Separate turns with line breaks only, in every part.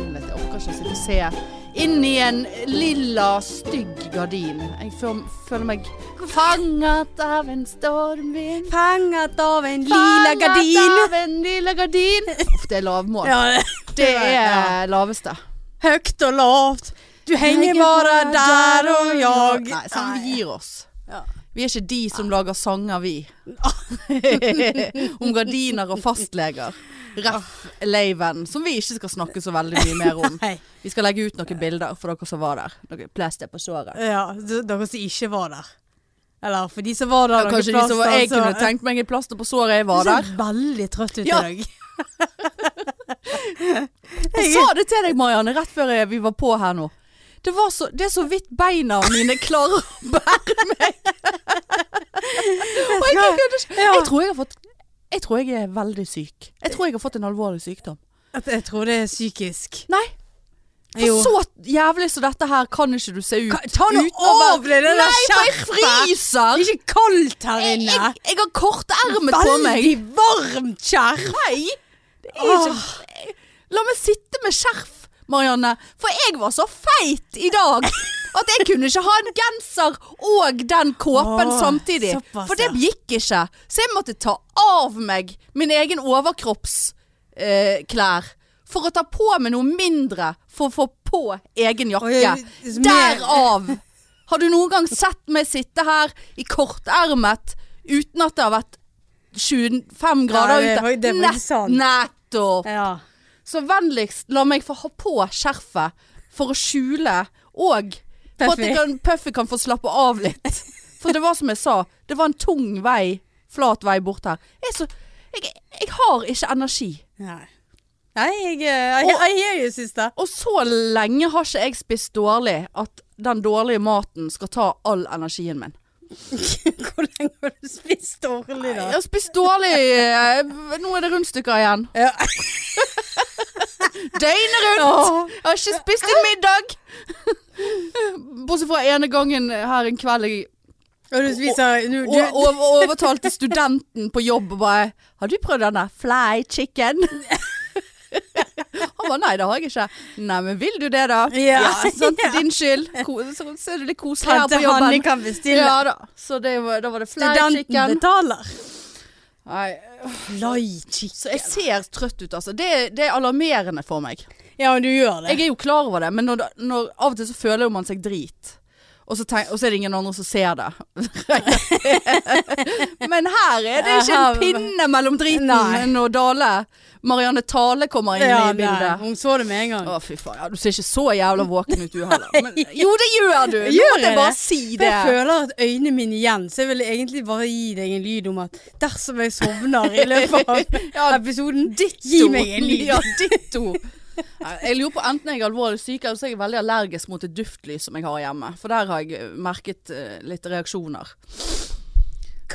etasje sitte og se inn i en lilla, stygg gardin. Jeg føl- føler meg fanget av en stormvind.
Fanget av en lila gardin.
Fanget av en lila gardin. Uff, det er lavmål.
Ja, det-
Det
ja.
er laveste.
høyt og lavt. Du henger bare der og jeg.
Nei, sånn vi gir oss.
Ja.
Vi er ikke de som lager sanger, vi. om gardiner og fastleger. Ref. Leiven, som vi ikke skal snakke så veldig mye mer om.
Nei.
Vi skal legge ut noen bilder for dere som var der. Noe plaster på såret.
Ja, d- dere som ikke var der. Eller for de som var der.
Ja, kanskje de som var Jeg kunne
altså.
tenkt meg et plaster på såret jeg var
Du
der.
ser veldig trøtt ut
Ja.
i dag.
Jeg sa det til deg, Marianne, rett før jeg- vi var på her nå. Det, var så, det er så vidt beina mine klarer å bære meg. Og jeg, jeg, jeg,
Ja.
jeg tror jeg har fått Jeg tror jeg er veldig syk. Jeg tror jeg har fått en alvorlig sykdom.
At jeg tror det er psykisk.
Nei. For
Jo.
så jævlig som dette her kan ikke du se ut.
Ka- ta nå
uten å være-
av deg det der
Nei, for jeg
skjerfet!
fryser!
Det er ikke kaldt her
Jeg,
inne.
jeg, jeg har kortermet på meg.
Veldig varmt skjerf.
Nei! Det er jo ikke
Ah.
La meg sitte med skjerf, Marianne. For jeg var så feit i dag at jeg kunne ikke ha en genser og den kåpen
Åh,
samtidig.
såpass,
for det
ja.
gikk ikke. Så jeg måtte ta av meg min egen overkroppsklær eh, klær for å ta på meg noe mindre for å få på egen jakke.
Oi, mer-
Derav! Har du noen gang sett meg sitte her i kortermet uten at det har vært 25 grader
det var-
ute.
det var ikke sant.
Nettopp!
Ja.
Så vennligst la meg få ha på skjerfet for å skjule og for at
Puffy.
jeg kan, Puffy kan få slappe av litt. For det var som jeg sa, det var en tung vei, flat vei bort her. Jeg, er så, jeg, jeg har ikke energi.
Nei, Nei jeg, eh, jeg, jeg, jeg gjør jo siste.
Og så lenge har ikke jeg spist dårlig at den dårlige maten skal ta all energien min.
Hvor lenge har du spist dårlig da?
Jeg har spist dårlig eh, Nå er det rundstykker igjen.
Ja.
Døgnet rundt! Jeg har ikke spist en middag! Bortsett fra ene gangen her en kveld jeg
Og du spiser nå-
o-
du,
over- overtalte studenten på jobb og bare 'Har du prøvd denne fly chicken?' Han bare 'Nei, det har jeg ikke'. 'Nei, men vil du det, da?'
Ja.
sant? Din skyld. Ko- Så så er det litt koselig her
Tante
på
Hanne
jobben.
kan bestille.
Ja da. Så det var, da var det fly
Studenten
chicken.
betaler.
Nei,
Fly chicken.
så jeg ser trøtt ut, altså. Det, det er alarmerende for meg.
Ja, men du gjør det.
Jeg er jo klar over det, men når, når, av og til så føler jo man seg drit. Og så, tenk, og så er det ingen andre som ser det. men her er det ikke en pinne mellom driten
Nei.
når Dale Marianne Tale kommer inn
ja,
i
nei,
bildet.
hun så det med en gang.
Å, fy faen. Ja, du ser ikke så jævla våken ut du heller. Men, jo, det gjør du! Nå
Gjør
måtte
jeg
jeg bare
det?
si
For
det.
Jeg føler at øynene mine igjen, så jeg vil egentlig bare gi deg en lyd om at dersom jeg sovner i løpet av
Ja,
episoden, gi
ditto.
meg en lyd.
Ja, ditto. Nei, Jeg lurer på enten jeg er alvorlig syk, eller så er jeg veldig allergisk mot et duftlys som jeg har hjemme. For der har jeg eh, merket eh, litt reaksjoner.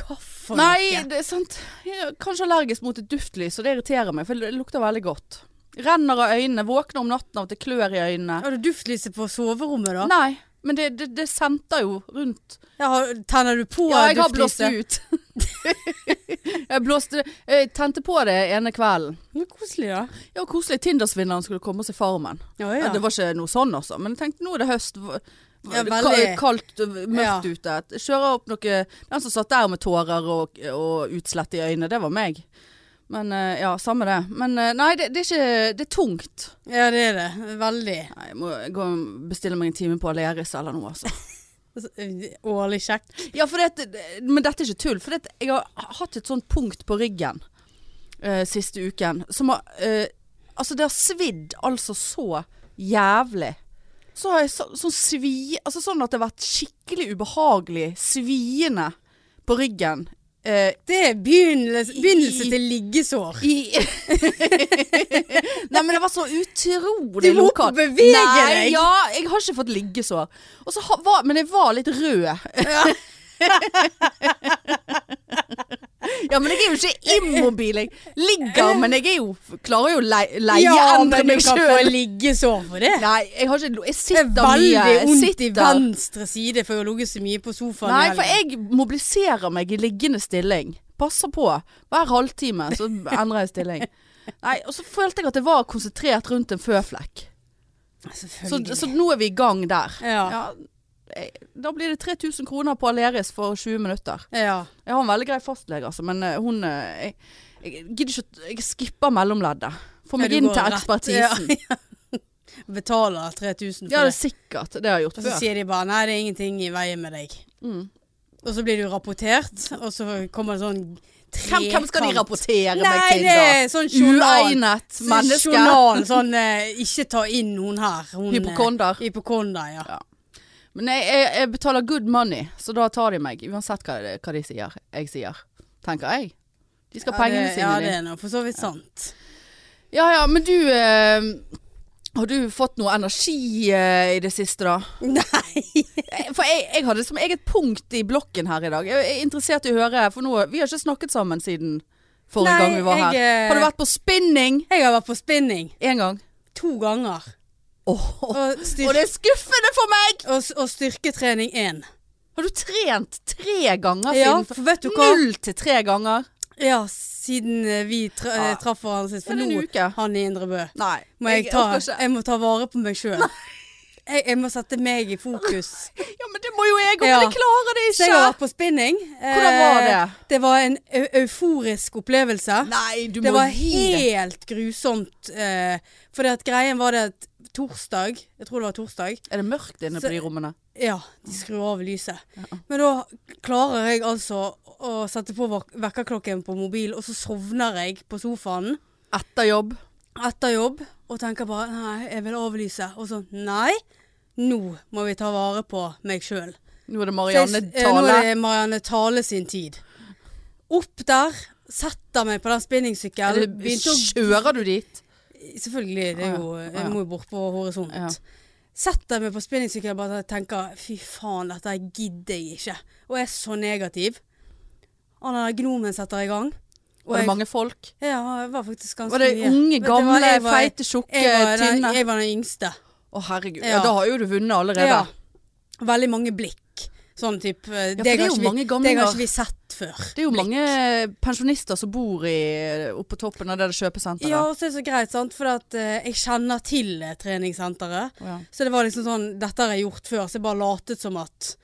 Hva for
Nei,
noe?
det er sant. Jeg er kanskje allergisk mot et duftlys, og det irriterer meg, for det lukter veldig godt. Renner av øynene, våkner om natten av at det klør i øynene.
Har du duftlyset på soverommet da?
Nei, men det, det, det senter jo rundt.
Ja, har- tenner du på
Ja, jeg har blåst
duftlyset?
det ut. jeg blåste Jeg tente på det ene kvelden.
Men koselig da.
Ja, hvor koselig. Tindersvinneren skulle komme og se Farmen.
Ja,
Ja.
ja.
Det var ikke noe sånn, altså. Men jeg tenkte nå er det høst. v-
Ja,
ka-
veldig.
Kaldt, mørkt ute. Kjører opp noe Den som satt der med tårer og, og utslett i øynene, det var meg. Men eh, ja, samme det. Men eh, nei, det, det er ikke Det er tungt.
Ja, det er det. Veldig.
Nei, jeg må gå og bestille meg en time på Aleris eller noe, altså.
Årlig sjekk.
Ja, for det, men dette er ikke tull. For det, jeg har hatt et sånt punkt på ryggen eh, siste uken som har eh, Altså, det har svidd altså så jævlig. Så har jeg så, sånn svi... Altså sånn at det har vært skikkelig ubehagelig, sviende på ryggen. eh,
Det er begynnelse, begynnelse til liggesår.
i Nei, men det var så utrolig
Du må
lokalt.
bevege
Nei,
deg.
Ja, jeg har ikke fått liggesår. Og så ha, var, men jeg var litt rød. ja, men jeg er jo ikke immobil. Jeg ligger, men jeg er jo, klarer jo å lei- leie endre
men du
meg
kan få
sjøl.
liggesår for det.
Nei, jeg har ikke Jeg
Det
sitter
er
mye.
veldig
Jeg
vondt i
sitter.
venstre side, for jeg har ligget så mye på sofaen.
Nei,
i
for
helgen.
jeg mobiliserer meg i liggende stilling. Passer på. Hver halvtime så endrer jeg stilling. Nei, og så følte jeg at det var konsentrert rundt en føflekk. Så,
Selvfølgelig.
så nå er vi i gang der.
ja.
Ja, eh, da blir det 3000 kroner på Aleris for 20 minutter.
ja.
Jeg har en veldig grei fastlege, altså, men eh, hun eh, Jeg, jeg gidder ikke å- Jeg skipper mellomleddet. Få
Ja,
meg
du
inn
går
til
rett-
ekspertisen. Ja,
Ja, ja. Betaler 3000 for
det er
det.
sikkert. Det har jeg gjort
Og så
før.
sier de bare nei, det er ingenting i veien med deg.
Mm.
Og så blir du rapportert, og så kommer det sånn
Hvem, hvem skal de rapportere meg
Nei,
til,
det
da?
er sånn journal.
Uegnet
sånn
menneske.
Journal, sånn eh, ikke ta inn hun her. Hun, eh,
Hypokonder.
Hypokonder, ja.
Men jeg, jeg, jeg betaler good money, så da tar de meg. Uansett hva, det- hva de sier. Jeg sier. Tenker jeg. De skal ha pengene
det,
sine.
Ja,
de.
det er nå for så vidt sant.
Ja ja, men du eh, Har du fått noe energi eh, i det siste, da?
Nei.
Eh, For jeg, jeg hadde som eget punkt i blokken her i dag. Jeg er interessert i å høre, for nå Vi har ikke snakket sammen siden forrige
Nei,
gang vi var
jeg, eh,
her. Har du vært på spinning
Jeg har vært på spinning
én gang?
to ganger.
Åh,
Og,
Og
styr
det er skuffende for meg!
og, s- og styrketrening én.
Har du trent tre ganger
Ja,
siden?
for vet du hva?
Null til tre ganger?
Ja, siden eh, vi tra
Ja.
eh, traff hverandre sist. For
Er det en
nå
uke?
han i Indre Bø.
Nei.
Må jeg, ta,
orker ikke.
jeg må ta vare på meg sjøl. Jeg, jeg må sette meg i fokus.
Ja, men det må jo jeg òg,
Ja.
men jeg klarer det
Så jeg
ikke!
har vært på spinning.
Hvordan var det?
Eh, Det var en eu euforisk opplevelse.
Nei, du må
det var
gi deg.
helt grusomt. Eh, for at greien var det at torsdag Jeg tror det var torsdag.
Er det mørkt inne
Så-
på de rommene?
Ja, de skrur av lyset. Men da klarer jeg altså å sette på vak- vekkerklokken på mobil, og så sovner jeg på sofaen
Etter jobb?
etter jobb og tenker bare Nei, jeg vil avlyse. Og så Nei, nå må vi ta vare på meg sjøl.
Nå er det
Så jeg-
Marianne
eh, Nå er
Tale.
det Marianne Tale sin tid. Opp der, setter meg på den
Eller
spinningsykkelen. begynte å-
Kjører du dit?
Selvfølgelig, det er jo,
Å ja, å ja.
jeg må jo bort på horisont.
Ja.
Setter meg på spinningsykkelen og bare tenker fy faen, dette her gidder jeg ikke. Og jeg er så negativ. Han der gnomen setter i gang. Og
Var det
jeg,
mange folk?
ja, jeg var faktisk ganske
Var det
mye.
unge,
Vet du hva,
gamle,
jeg var-
feite, tjukke,
jeg var, den,
tynne? Å,
jeg var den yngste.
herregud. Ja.
Ja.
da har jo du vunnet allerede.
Ja. Veldig mange blikk. Sånn type eh,
for
deg
det er
har
jo
ikke vi-
mange
Deg har
gamlinger.
ikke vi sett før.
Det er jo mange pensjonister som bor i, oppe på toppen av det der kjøpesenteret.
Ja, og så er det så greit, sant. For at eh, jeg kjenner til eh, treningssenteret.
Å, ja.
Så det var liksom sånn Dette har jeg gjort før, så jeg bare latet som at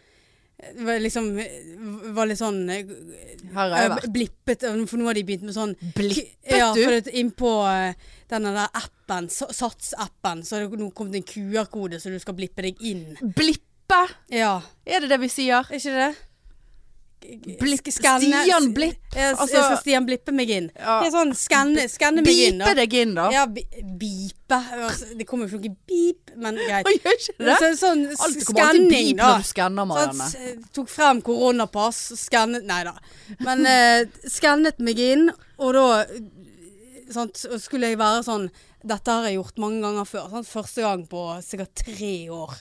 det var liksom eh, var litt sånn eh,
Her har jeg vært.
Blippet eh, For nå har de begynt med sånn
Blippet,
Ja,
du?
for at innpå eh, denne der appen, Sa- Sats-appen, så har det nå kommet en QR-kode, så du skal blippe deg inn.
Blippe!
Ja,
Er det det vi sier?
er ikke det? G- g-
Blipp-
sk- skanne-
Stian Blipp,
Ja, s-
altså-
jeg skal Stian blippe meg inn.
Ja.
Det er sånn skanne, skanne meg inn.
Bipe deg inn, da.
Ja, bi bipe. Altså, Det kommer jo ikke noe beep, men greit.
Å, gjør ikke det?
Så, sånn
Alt kommer alltid
skanning,
bip
da.
når du skanner,
Sånn,
Marianne.
s- tok frem koronapass, skannet Nei da. Men eh, skannet meg inn, og da eh, sant, og skulle jeg være sånn Dette har jeg gjort mange ganger før. Sant? Første gang på sikkert tre år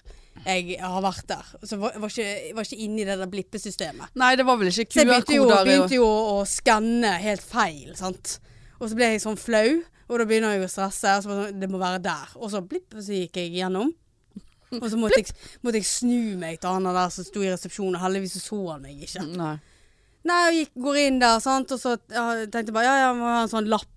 jeg har vært der. Så var, var, ikke, var ikke inne i det der blippesystemet.
Nei, det var vel ikke
Så jeg begynte jo,
QR-koder. og-
begynte jo å skanne helt feil, sant. Og så ble jeg sånn flau, og da begynner jeg å stresse. Og så bare sånn, det må være der. Og så blipp, så gikk jeg gjennom. Og så måtte jeg, måtte jeg snu meg til han der som sto i resepsjonen. Heldigvis så så han meg ikke.
Nei.
Nei, jeg gikk, går inn der, sant, og så ja, tenkte jeg bare ja, ja, jeg må ha en sånn lapp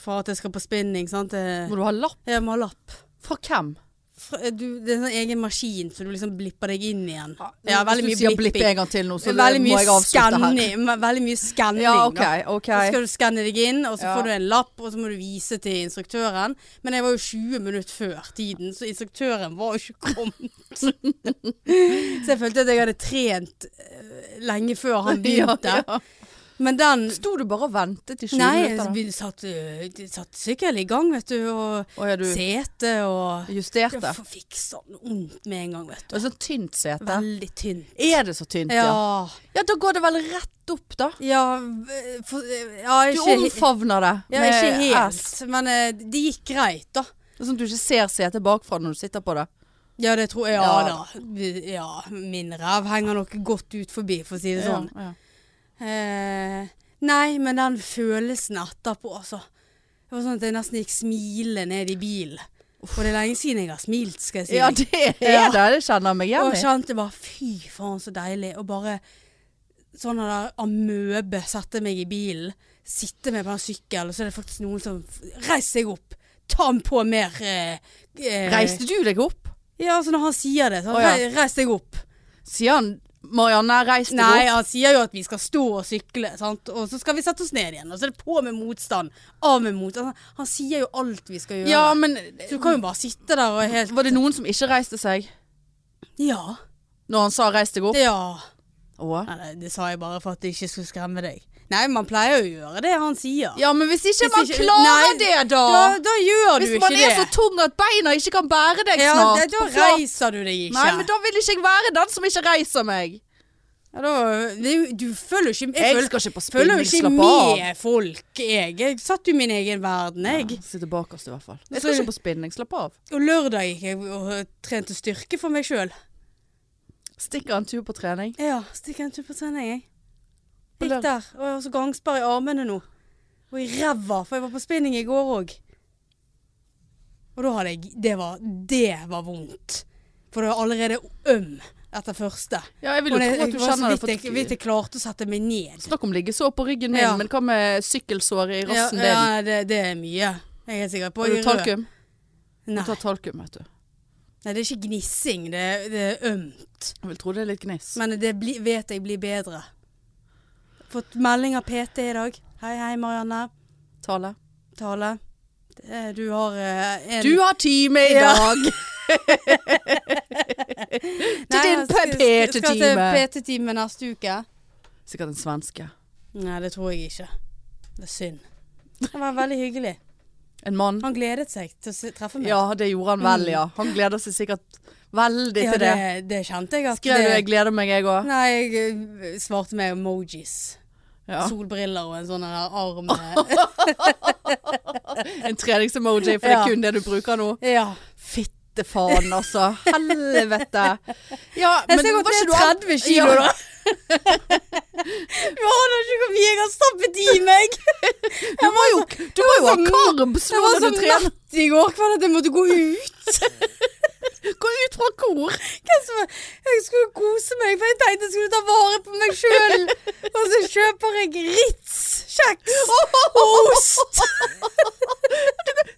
for at jeg skal på spinning, sant. Jeg,
Må du ha lapp?
jeg må ha lapp.
Fra hvem?
Fra- Du, det er en sånn egen maskin, så du liksom blipper deg inn igjen.
Hvis du sier blipp
blipping.
en gang til nå, så
Veldig
må
mye
jeg avslutte her.
skanning. Veldig mye skanning.
Ja,
da.
OK. ok.
Så skal du skanne deg inn, og så
Ja.
får du en lapp, og så må du vise til instruktøren. Men jeg var jo 20 minutter før tiden, så instruktøren var jo ikke kommet. så jeg følte at jeg hadde trent eh, lenge før han begynte.
Ja, ja.
Men den
Sto du bare og ventet i 20
Nei,
minutter? da?
vi satt, eh, de satt sykkelen i gang, vet du, og
Å ja, du
sete og
justerte?
Jeg f- fikk sånn vondt med en gang, vet du.
Det er sånn tynt sete.
Veldig tynt.
Er det så tynt, ja?
Ja.
Ja, da går det vel rett opp, da.
Ja, v- eh, for, ja
Du
ikke, he-
omfavner det
ja, ikke helt,
S.
men eh, det gikk greit, da.
Det er Sånn at du ikke ser setet bakfra når du sitter på det.
Ja, det tror jeg. Ja,
Ja.
da. Vi- Ja, min ræv henger nok godt ut forbi, for å si det sånn.
Ja, ja.
Eh, nei, men den følelsen etterpå, altså. Det var sånn at jeg nesten gikk smilende ned i bilen. Og det er lenge siden jeg har smilt, skal jeg si.
Ja,
deg.
det er
Ja.
det. Det kjenner jeg meg
og
igjen
jeg
i.
kjente bare fy faen, så deilig. Og bare sånn der amøbe sette meg i bilen, sitte meg på en sykkel, og så er det faktisk noen som f- Reis deg opp! ta han på mer eh, eh,
Reiste du deg opp?
Ja, altså når han sier det, så
Å, ja.
"Re- reis deg opp.
Sier han Marianne, reis deg
Nei,
opp.
han sier jo at vi skal stå og sykle, sant? og så skal vi sette oss ned igjen. Og så er det på med motstand, av med motstand. Han, han sier jo alt vi skal gjøre.
Ja, men
så du kan jo bare sitte der og helt
var det noen som ikke reiste seg
Ja.
når han sa reis deg opp?
Det, ja.
Å.
Nei, nei, det sa jeg bare for at det ikke skulle skremme deg. Nei, man pleier jo å gjøre det han sier.
Ja, men hvis ikke
Hvis
man
ikke-
klarer
Nei,
det, da!
Da, da gjør
Hvis
du ikke
man
det.
er så tung at beina ikke kan bære deg
ja,
snart.
da, da
på flat-
reiser du deg ikke.
Nei, men da vil ikke jeg være den som ikke reiser meg.
ja, da det, er jo- Du følger jo ikke
Jeg
følger-
skal ikke på spinning,
følger jo ikke
slapp av.
med folk, jeg. Jeg satt jo i min egen verden, jeg.
Sitter bakerst i hvert fall. Jeg
Jeg skal
skal
ikke
ikke på spinning, slapp av.
Og lørdag gikk jeg og trente styrke for meg sjøl.
Stikker en tur på trening.
Ja, stikker en tur på trening, jeg.
På
Gikk
lørdag.
der. Og jeg har så gangsperre i armene nå. Og i ræva, for jeg var på spinning i går òg. Og da hadde jeg Det var, det var vondt. For det var allerede øm etter første.
Ja, jeg
Og
vil jo
det,
tro at
det
du
var så
kjenner det.
vidt jeg, vidt jeg klarte å sette meg ned.
Snakk om liggesår på ryggen min,
Ja.
men hva med sykkelsår i
Ja,
rassen
ja
din?
det, det er mye. Jeg er helt sikker på
Har
I
du
rød-
talkum? Du
Nei.
tar talkum, vet du.
Nei, det er ikke gnissing. Det, er- det er ømt.
Jeg vil tro det er litt gniss.
Men det bli, vet jeg blir bedre. Fått melding av PT i dag. Hei, hei, Marianne.
Tale.
Tale. Eh, Du har eh, en
Du har time i
Ja.
dag!
Nei,
din
jeg skal-
PT-time.
Skal til PT-time neste uke.
Sikkert en svenske.
Nei, det tror jeg ikke. Det er synd. Han var veldig hyggelig.
En mann?
Han gledet seg til å se- treffe meg.
Ja, det gjorde han vel, ja. Han gleder seg sikkert veldig
Ja,
til det.
det, det kjente jeg at
Skrev du
det-
'jeg gleder meg', jeg òg?
Nei, jeg eh, svarte med emojis.
Ja.
Solbriller og en sånn der arm.
En treningsemoji, for det
Ja.
er kun det du bruker nå.
eh, ja.
Fitte faen, altså. Helvete. Ja,
Jeg skal gå
var ikke
ned
du an-
30 kilo, da. Du aner ikke hvor mye jeg har stappet i meg.
Du må jo,
altså,
du må jo ha
så
karbs nå
Jeg var
når
så
du trener.
mett i går kveld at jeg måtte gå ut.
Gå ut fra kor.
Hvem som- Jeg skulle kose meg, for jeg tenkte jeg skulle ta vare på meg sjøl. Og så kjøper jeg Ritz-kjeks og ost.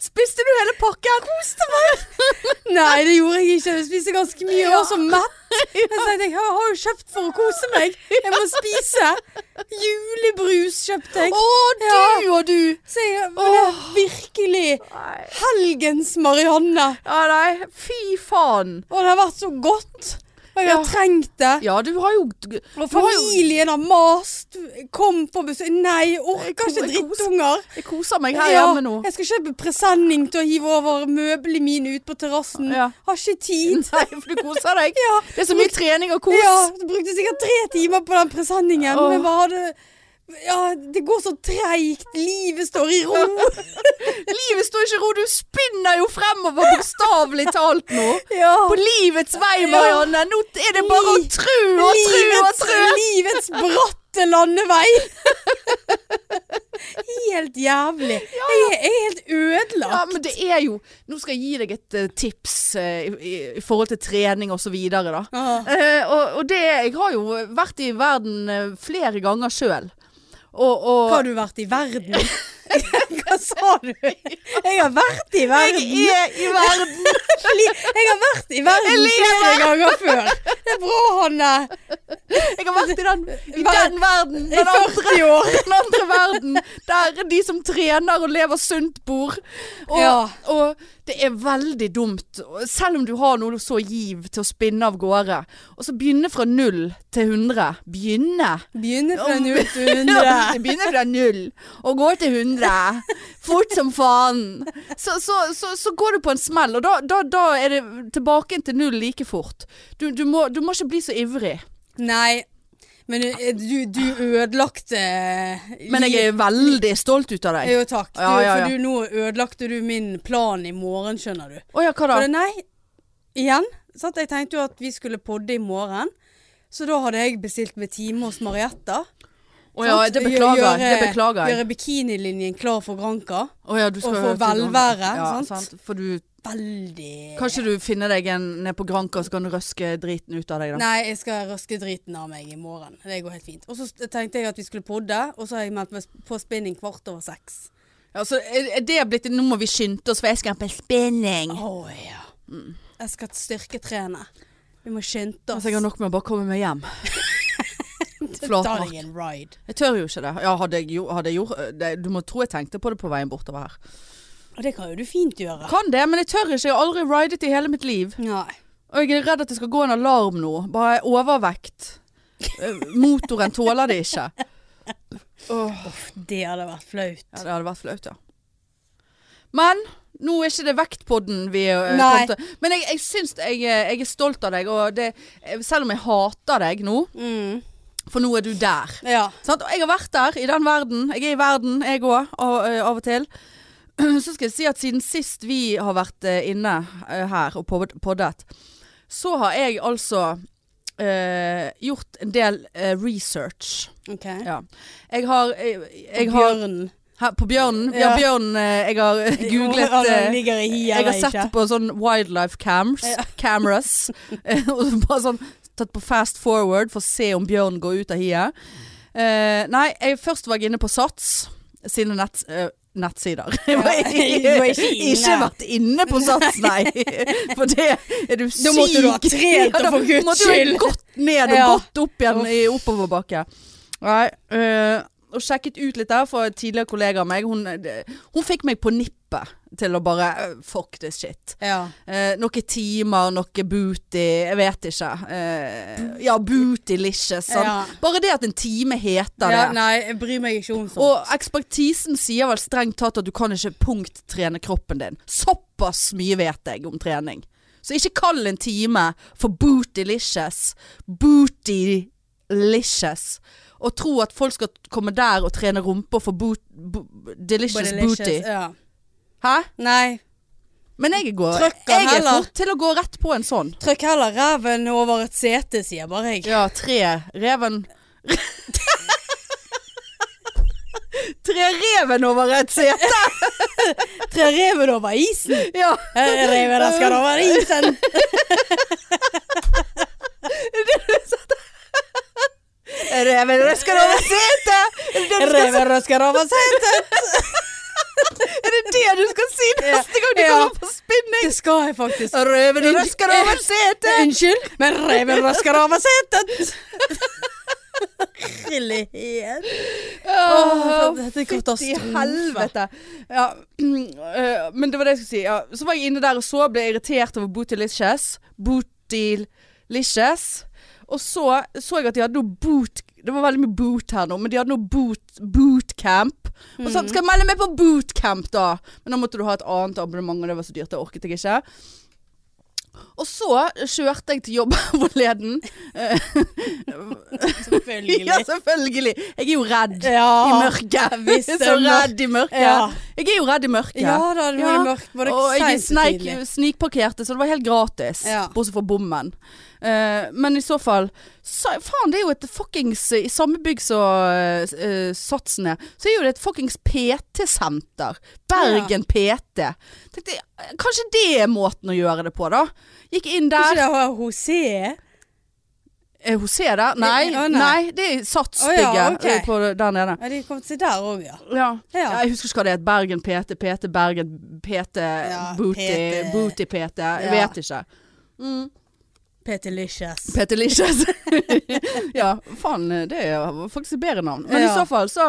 Spiste du hele pakken?
Nei, det gjorde jeg ikke. Jeg spiste ganske mye og var så mett. Jeg tenkte jeg har jo kjøpt for å kose meg. Jeg må spise. Julebrus kjøpte jeg.
Å, du og du.
Så jeg ble virkelig helgens Marianne.
Ja, nei. Fy faen.
Og det har vært så godt. Og jeg har
Ja.
trengt det.
Ja, du har jo
Og
du har jo-
familien har mast. Kom på besøk. Nei, jeg orker ikke
Jeg koser-
drittunger.
Jeg koser meg her
Ja,
hjemme nå.
jeg skal kjøpe presenning til å hive over møblene mine ut på terrassen.
Ja.
Har ikke tid.
Nei, for du koser deg.
Ja,
Det er så mye trening og kos.
ja, du brukte sikkert tre timer på den presenningen.
Åh.
Men hva hadde Ja, det går så treigt. Livet står i ro.
Livet står ikke i ro. Du spinner jo fremover, bokstavelig talt nå.
Ja.
På livets vei,
Ja.
Marianne. Nå er det bare å
Li-
tru og tru og
livets,
tru.
livets bratte landevei. Helt jævlig. Jeg, er- jeg er helt ødelagt.
Ja, men det er jo Nå skal jeg gi deg et eh, tips eh, i, i forhold til trening og så videre, da.
Åh.
Eh, og, og det Jeg har jo vært i verden eh, flere ganger sjøl. Og, og
Hva har du vært i verden? Hva sa du? Jeg har vært i verden.
Jeg er i verden.
Fli- Jeg har vært i verden flere ganger før. Det er bra, Hanne.
Jeg har vært i den, i
Ver-
den verden.
I
Den andre,
40 år.
den andre verden. Der de som trener og lever sunt, bor. Og,
Ja.
og det er veldig dumt. og Selv om du har noe så giv til å spinne av gårde. Og så begynne fra null til 100. Begynne.
Begynner fra
Om-
0 til
Ja,
100.
det begynner fra null og går til 100. Fort som faen. Så, så, så, så går du på en smell, og da, da, da er det tilbake igjen til null like fort. Du, du, må, du må ikke bli så ivrig.
Nei, men eh, du, du ødelagte eh,
Men jeg er veldig stolt ut av deg.
Jo, takk. Du,
Ja, ja, ja.
For du, nå ødelagte du min plan i morgen, skjønner du.
Å ja, hva da?
For det, nei, igjen. Sant? Jeg tenkte jo at vi skulle podde i morgen. Så da hadde jeg bestilt meg time hos Marietta.
Å ja,
Sant?
det beklager jeg. Det
Gjøre-
beklager jeg.
Gjøre bikinilinjen klar for Granka.
Å ja, du skal
og få
til Gran-
velvære,
Ja,
sant?
For du
Veldig
Kanskje du finner deg en nede på Granka, så kan du røske driten ut av deg, da.
Nei, jeg skal røske driten av meg i morgen. Det går helt fint. Og så tenkte jeg at vi skulle podde, og så har jeg meldt meg på spinning kvart over seks.
Ja, så er er det blitt Nå må vi skynde oss, for jeg skal på spinning.
Å ja. Jeg skal styrketrene. Vi må skynde
Mm.
oss.
Altså, jeg har nok med å bare komme meg hjem.
Ta
Flatmark.
deg en ride.
Jeg tør jo ikke det. Ja, hadde jeg, gjo- hadde jeg gjort eh, det, Du må tro jeg tenkte på det på veien bortover her.
Og det kan jo du fint gjøre.
Kan det, men jeg tør ikke. Jeg har aldri ridet i hele mitt liv.
Nei.
Og jeg er redd at det skal gå en alarm nå. Bare jeg er overvekt. Eh, Motoren tåler det ikke. Åh,
Det hadde vært flaut.
ja, det hadde vært flaut, ja. Men nå er ikke det vektpodden vi eh,
Nei.
kom til. Men jeg, jeg syns jeg, eh, jeg er stolt av deg, og det, eh, selv om jeg hater deg nå,
Mm.
for nå er du der.
Ja.
Sant? Og jeg har vært der, i den verden. Jeg er i verden, jeg òg, av, eh, av og til. Så skal jeg si at siden sist vi har vært eh, inne eh, her og pod- poddet, så har jeg altså eh, gjort en del eh, research.
OK.
Ja. Jeg har, jeg, jeg har
Bjørnen.
her, På bjørnen? Ja,
Ja.
bjørnen eh, jeg har googlet
Om
eh,
den ligger i hi
jeg
eller
har sett
ikke.
på sånn wildlife cams, cameras, eh, og så bare sånn tatt på fast forward for å se om bjørn går ut av hiet. Eh, nei, jeg, først var jeg inne på Sats sine nett, eh, nettsider. Jeg var
Ja, du var ikke inne.
ikke vært inne på Sats, nei. For det er du syk.
Da måtte du ha trent,
Ja, da
for Guds
måtte du ha
skyld.
Gått ned og
Ja.
gått opp igjen i oppoverbakke. Nei, eh, og sjekket ut litt der for en tidligere kollega av meg. Hun, eh, hun fikk meg på nippet til å bare eh, Fuck this shit.
Ja.
Eh, noen timer, noe booty, jeg vet ikke. Eh, ja, bootylicious. sant?
Ja.
Bare det at en time heter
ja.
det.
Nei, jeg bryr meg ikke om sånt.
Og ekspertisen sier vel strengt tatt at du kan ikke punktrene kroppen din. Såpass mye vet jeg om trening. Så ikke kall en time for bootylicious. Bootylicious. Og tro at folk skal komme der og trene rumpa for boot, bo, delicious
Bootylicious,
booty.
Ja.
Hæ?
Nei.
Men jeg går
Trøkker
Jeg er
heller.
fort til å gå rett på en sånn.
Trykk heller reven over et sete, sier bare jeg.
Ja, tre reven Tre reven over et sete!
Tre reven over isen.
Ja.
Eh, Reven den skal over isen.
Reven røsker over setet! Er det det du skal,
Reven den skal over setet.
er det det du skal si neste gang du
Ja.
kommer på spinning?
Det skal jeg faktisk.
Reven
Unnskyld.
røsker over setet!
Unnskyld, men reven rasker over setet. Herlighet. Åh, dette er
I
katastrofe.
helvete. Ja, øh, men det var det jeg skulle si. Ja. Så var jeg inne der og så, ble jeg irritert over Bootylicious. Bootylicious. Og så så jeg at de hadde noe boot Det var veldig mye boot her nå, men de hadde noe boot, bootcamp. Og så
Mhm.
skal jeg melde meg på bootcamp, da! Men da måtte du ha et annet abonnement, og det var så dyrt. Det orket jeg ikke. Og så kjørte jeg til jobb forleden. Ja,
Selvfølgelig.
selvfølgelig! Jeg er jo redd i
Ja.
mørket.
hvis det
Ah.
er
så
mørkt.
redd i mørket.
Ja.
Jeg er jo redd i mørket.
Ja da, det var
Ja.
jo mørkt. Var det
og jeg
seint og
sneik,
tidlig?
snikparkerte, så det var helt gratis.
Ja.
Bortsett fra bommen. Eh, men i så fall så, Faen, det er jo et fuckings I samme bygg som eh, Satsen er, så er jo det et fuckings PT-senter. Bergen PT. Tenkte, jeg, kanskje det er måten å gjøre det på, da. Gikk inn
Ikke
der.
det var José?
Er hun ser der? Nei,
Å, nei.
nei, det er Satsbygget
Å, ja, ok.
eh, på, der nede.
Ja, de kom til der òg, ja.
Ja.
Ja.
Jeg husker ikke hva det het. Bergen PT, PT Bergen, PT Booty,
PT.
Booty PT. Jeg
Ja.
vet ikke.
Petelicious.
PT Licious. ja, faen, det er faktisk et bedre navn. Men i
Ja.
så fall så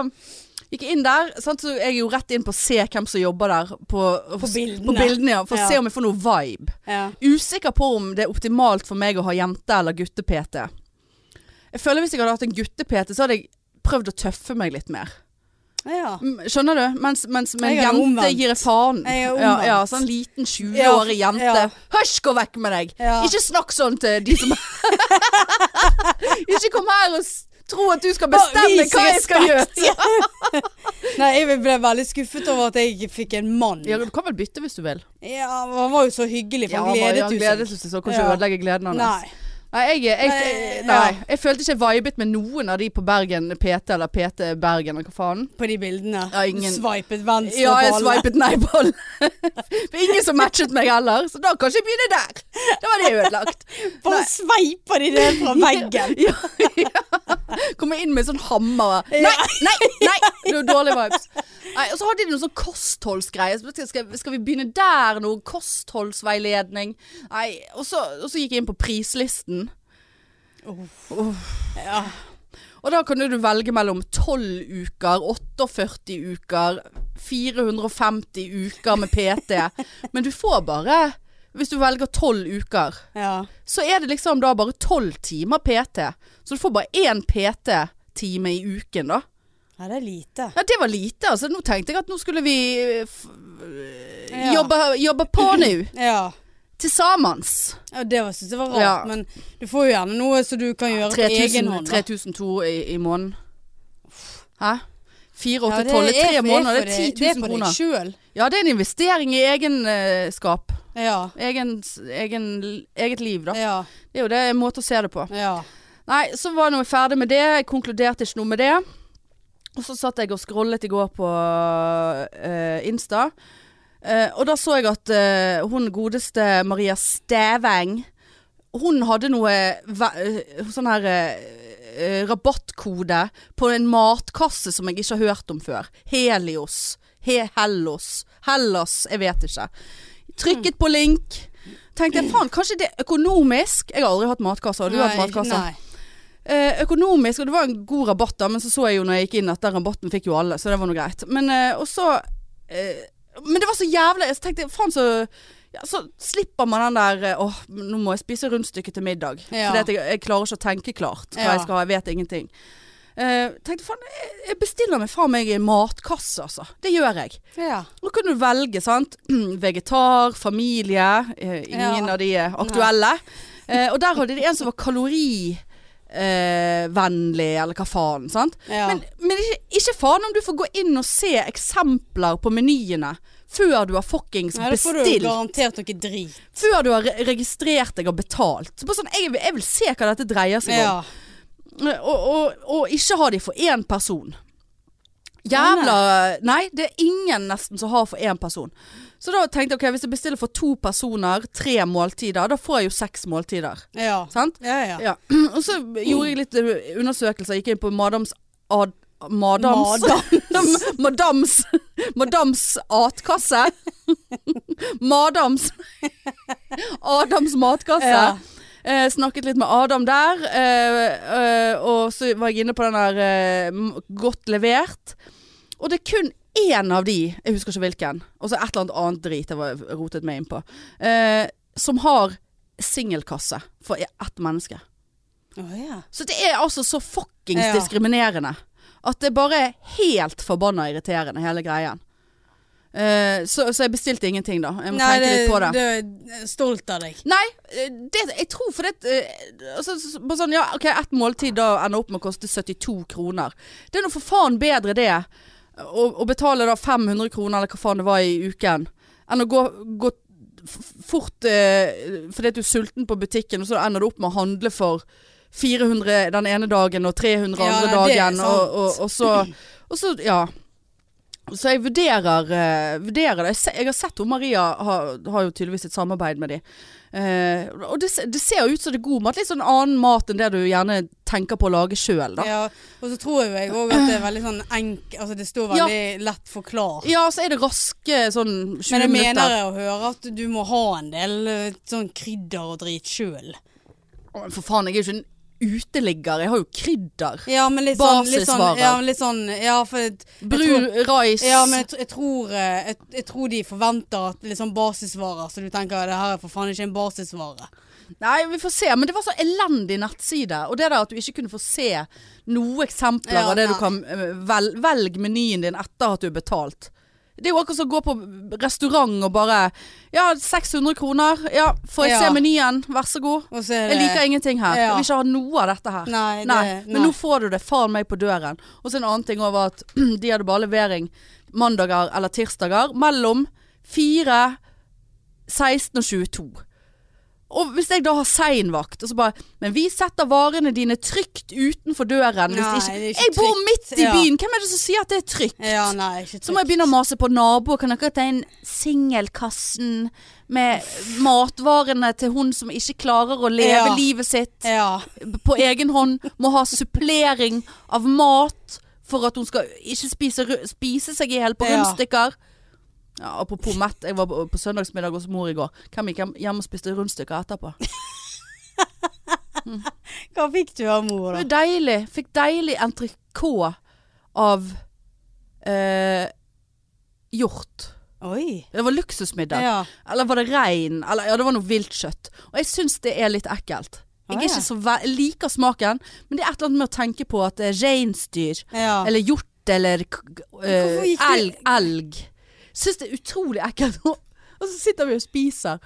gikk jeg inn der. Sant? Så jeg er jo rett inn på å se hvem som jobber der. På,
På bildene.
På bildene ja, for å
Ja.
se om jeg får noe vibe.
Ja.
Usikker på om det er optimalt for meg å ha jente- eller gutte-PT. Jeg føler Hvis jeg hadde hatt en gutte-PT, så hadde jeg prøvd å tøffe meg litt mer.
ja.
Mm, Skjønner du? Mens, mens med en
Jeg er
jente
omvendt.
gir jeg faen.
Jeg er
ja,
omvendt.
ja, sånn liten 20-årig
Ja,
jente.
ja.
Hysj, gå vekk med deg!
Ja.
Ikke snakk sånn til de som Ikke kom her og s- tro at du skal bestemme
Vis
hva jeg skal
respekt.
gjøre!
Nei, jeg ble veldig skuffet over at jeg ikke fikk en mann.
Ja, du kan vel bytte hvis du vil.
Ja, Han var jo så hyggelig, for han
bare-
gledet
ja,
jo
gledet
seg.
jo seg, så kan ikke
Ja.
ødelegge gleden hans.
Nei.
Nei, jeg, jeg,
Nei,
nei,
ja.
jeg følte ikke jeg vibet med noen av de på Bergen PT eller PT Bergen, eller hva faen.
På de bildene.
Ja, ingen-
Sveipet venstre
Ja, jeg
på alle.
swipet nei på alle. For ingen som matchet meg heller, så da kan ikke jeg begynne der. Da var det ødelagt.
Bare
Nei.
sveiper de det fra veggen.
Ja, ja. Kommer inn med sånn hammer. Nei, nei, nei! Du har dårlige vibes. Nei, og så hadde de noen sånn kostholdsgreier. Så tenkte jeg, Skal, skal vi begynne der nå? Kostholdsveiledning. Nei, og så, og så gikk jeg inn på prislisten.
Ja.
Og da kan jo du velge mellom 12 uker, 48 uker, 450 uker med PT. Men du får bare, hvis du velger 12 uker,
ja.
så er det liksom da bare 12 timer PT. Så du får bare én PT-time i uken da.
Nei, det er lite.
Ja, det var lite altså. Nå tenkte jeg at nå skulle vi eh, f
Ja.
jobbe, jobbe på nå.
Ja.
Til sammen.
ja det var- synes jeg var rart.
Ja.
Men du får jo gjerne noe som du kan gjøre på egen
3000
hånd. da.
3002 i, i måneden. Hæ? 4, 8, 12,
Ja,
det er tre måneder,
for
det er
deg-
10 000
Det er på
kroner.
deg sjøl.
Ja, det er en investering i egenskap.
Ja.
Egen, egen, eget liv, da.
Ja.
Det er jo det en måte å se det på.
Ja.
Nei, så var jeg ferdig med det. Jeg konkluderte ikke noe med det. Og så satt jeg og scrollet i går på eh, Insta. Eh, og da så jeg at eh, hun godeste Maria Steveng Hun hadde noe ve- eh, sånn her eh, eh, rabattkode på en matkasse som jeg ikke har hørt om før. Helios. He Hellos. Hellas, jeg vet ikke. Trykket på link. Tenkte jeg faen, kanskje det er økonomisk? Jeg har aldri hatt matkasse. Har du hatt
Nei,
matkasse?
Nei.
Eh, økonomisk, og det var en god rabatt da, men så så jeg jo når jeg gikk inn at den rabatten fikk jo alle, så det var noe greit. Men, eh, og så, eh, men det var så jævlig, så tenkte jeg, faen så, ja, så slipper man den der, eh, åh, nå må jeg spise rundstykke til middag.
Ja.
Fordi at jeg, jeg klarer ikke å tenke klart hva
Ja.
jeg skal ha, jeg vet ingenting. Eh, tenkte, faen, jeg, jeg bestiller meg faen meg en matkasse, altså. Det gjør jeg.
Ja.
Nå kan du velge, sant? Vegetar, familie. eh, Ingen
Ja.
av de er aktuelle. Eh, og der hadde de en som var kalorivennlig, eh, vennlig, eller hva faen. sant?
Ja.
Men, men ikke, ikke faen om du får gå inn og se eksempler på menyene før du har fuckings
Nei, da får du
bestilt.
garantert noe drit.
Før du har re registrert deg og betalt. Så bare sånn, jeg, vil- jeg vil se hva dette dreier seg om.
Ja.
Eh, Og, og, og ikke har de for én person.
Å, nei.
Jævla Nei, det er ingen nesten som har for én person. Så da tenkte jeg ok, hvis jeg bestiller for to personer, tre måltider, da får jeg jo seks måltider.
Ja.
Sant?
Ja, ja.
Ja. Og så gjorde jeg litt eh, undersøkelser, gikk inn på Madams ad, Madams
Madams.
Madams Madams atkasse. Madams Adams matkasse.
Ja.
Eh, snakket litt med Adam der. Eh, eh, og så var jeg inne på den der eh, m- Godt levert. Og det er kun én av de, jeg husker ikke hvilken, og så et eller annet annet drit jeg var rotet meg inn på, eh, som har singelkasse for ett menneske.
Å, ja.
Så det er altså så fuckings
Ja.
diskriminerende at det bare er helt forbanna irriterende, hele greien. Eh, så, så jeg bestilte ingenting, da. Jeg må
Nei,
tenke litt på det.
det- Stolt av deg.
Nei, eh, det, jeg tror for det eh, altså, s- bare sånn, ja, ok, Et måltid da ender opp med å koste 72 kroner. Det er nå for faen bedre det. Å, å betale da 500 kroner eller hva faen det var i uken, enn å gå, gå f- fort eh, fordi at du er sulten på butikken, og så ender du opp med å handle for 400 den ene dagen og 300
Ja,
andre
nei, det er
dagen. Og,
sant.
og, og, så, og så, ja. Så jeg vurderer, eh, vurderer det. Jeg, se, jeg har sett hun Maria har, har jo tydeligvis et samarbeid med de. Eh, og det, se- det ser jo ut som det er god mat. Litt sånn annen mat enn det du gjerne tenker på å lage sjøl, da. Ja.
Ja, og så tror jo jeg òg at det er veldig sånn enk... Altså det står
Ja.
veldig lett forklart.
så er det raske sånn 20
Men jeg mener
minutter.
jeg å høre at du må ha en del eh, sånn krydder og drit sjøl.
Å, For faen, jeg er jo ikke en uteligger. Jeg har jo krydder.
Ja, men litt sånn, litt sånn
Basisvarer.
Ja, men litt sånn Ja, for jeg, jeg
Brun
tror-
rais.
Ja, men jeg, tr- jeg tror eh, jeg, jeg tror de forventer at litt sånn basisvarer, så du tenker det her er for faen ikke en basisvare.
Nei, vi får se. Men det var så elendig nettside. Og det der at du ikke kunne få se noen eksempler
Ja,
av det du
nei.
kan eh, vel, Velg menyen din etter at du har betalt. Det er jo akkurat som å gå på restaurant og bare Ja, 600 kroner. Ja, får jeg
Ja.
se menyen? Vær så god.
Og så er
Jeg
det
liker ingenting her.
Ja.
Jeg vil ikke ha noe av dette her.
Nei, det,
Men nå får du det faen meg på døren. Og så en annen ting også var at de hadde bare levering mandager eller tirsdager mellom 4, 16 og 22. Og hvis jeg da har seinvakt, og så bare Men vi setter varene dine trygt utenfor døren.
Nei,
hvis
det er
ikke,
ikke
jeg bor
trygt.
midt i
Ja.
byen! Hvem er det som sier at det er trygt?
Ja, nei, ikke
Så må jeg begynne å mase på naboer. Kan dere ta inn singelkassen med matvarene til hun som ikke klarer å leve
Ja.
livet sitt?
Ja.
på egen hånd må ha supplering av mat for at hun skal ikke spise, ru- spise seg i hjel på
Ja.
rundstykker. Ja, apropos mett, jeg var på, på søndagsmiddag hos mor i går. Hvem gikk hjem- hjem og spiste rundstykker etterpå? Det
Hva fikk du av mor,
var
da?
jo deilig. Fikk deilig entrecôte av eh, hjort.
Oi.
Det var luksusmiddag.
Ja.
Eller var det rein? Eller ja, det var noe vilt kjøtt. Og jeg syns det er litt ekkelt. Jeg,
Ah,
er
ja.
ikke så ve jeg liker smaken, men det er et eller annet med å tenke på at det er reinsdyr,
ja.
eller hjort, eller k- k- eh,
gikk
elg.
det-
elg. Syns det er utrolig ekkelt. Og og så sitter vi og spiser.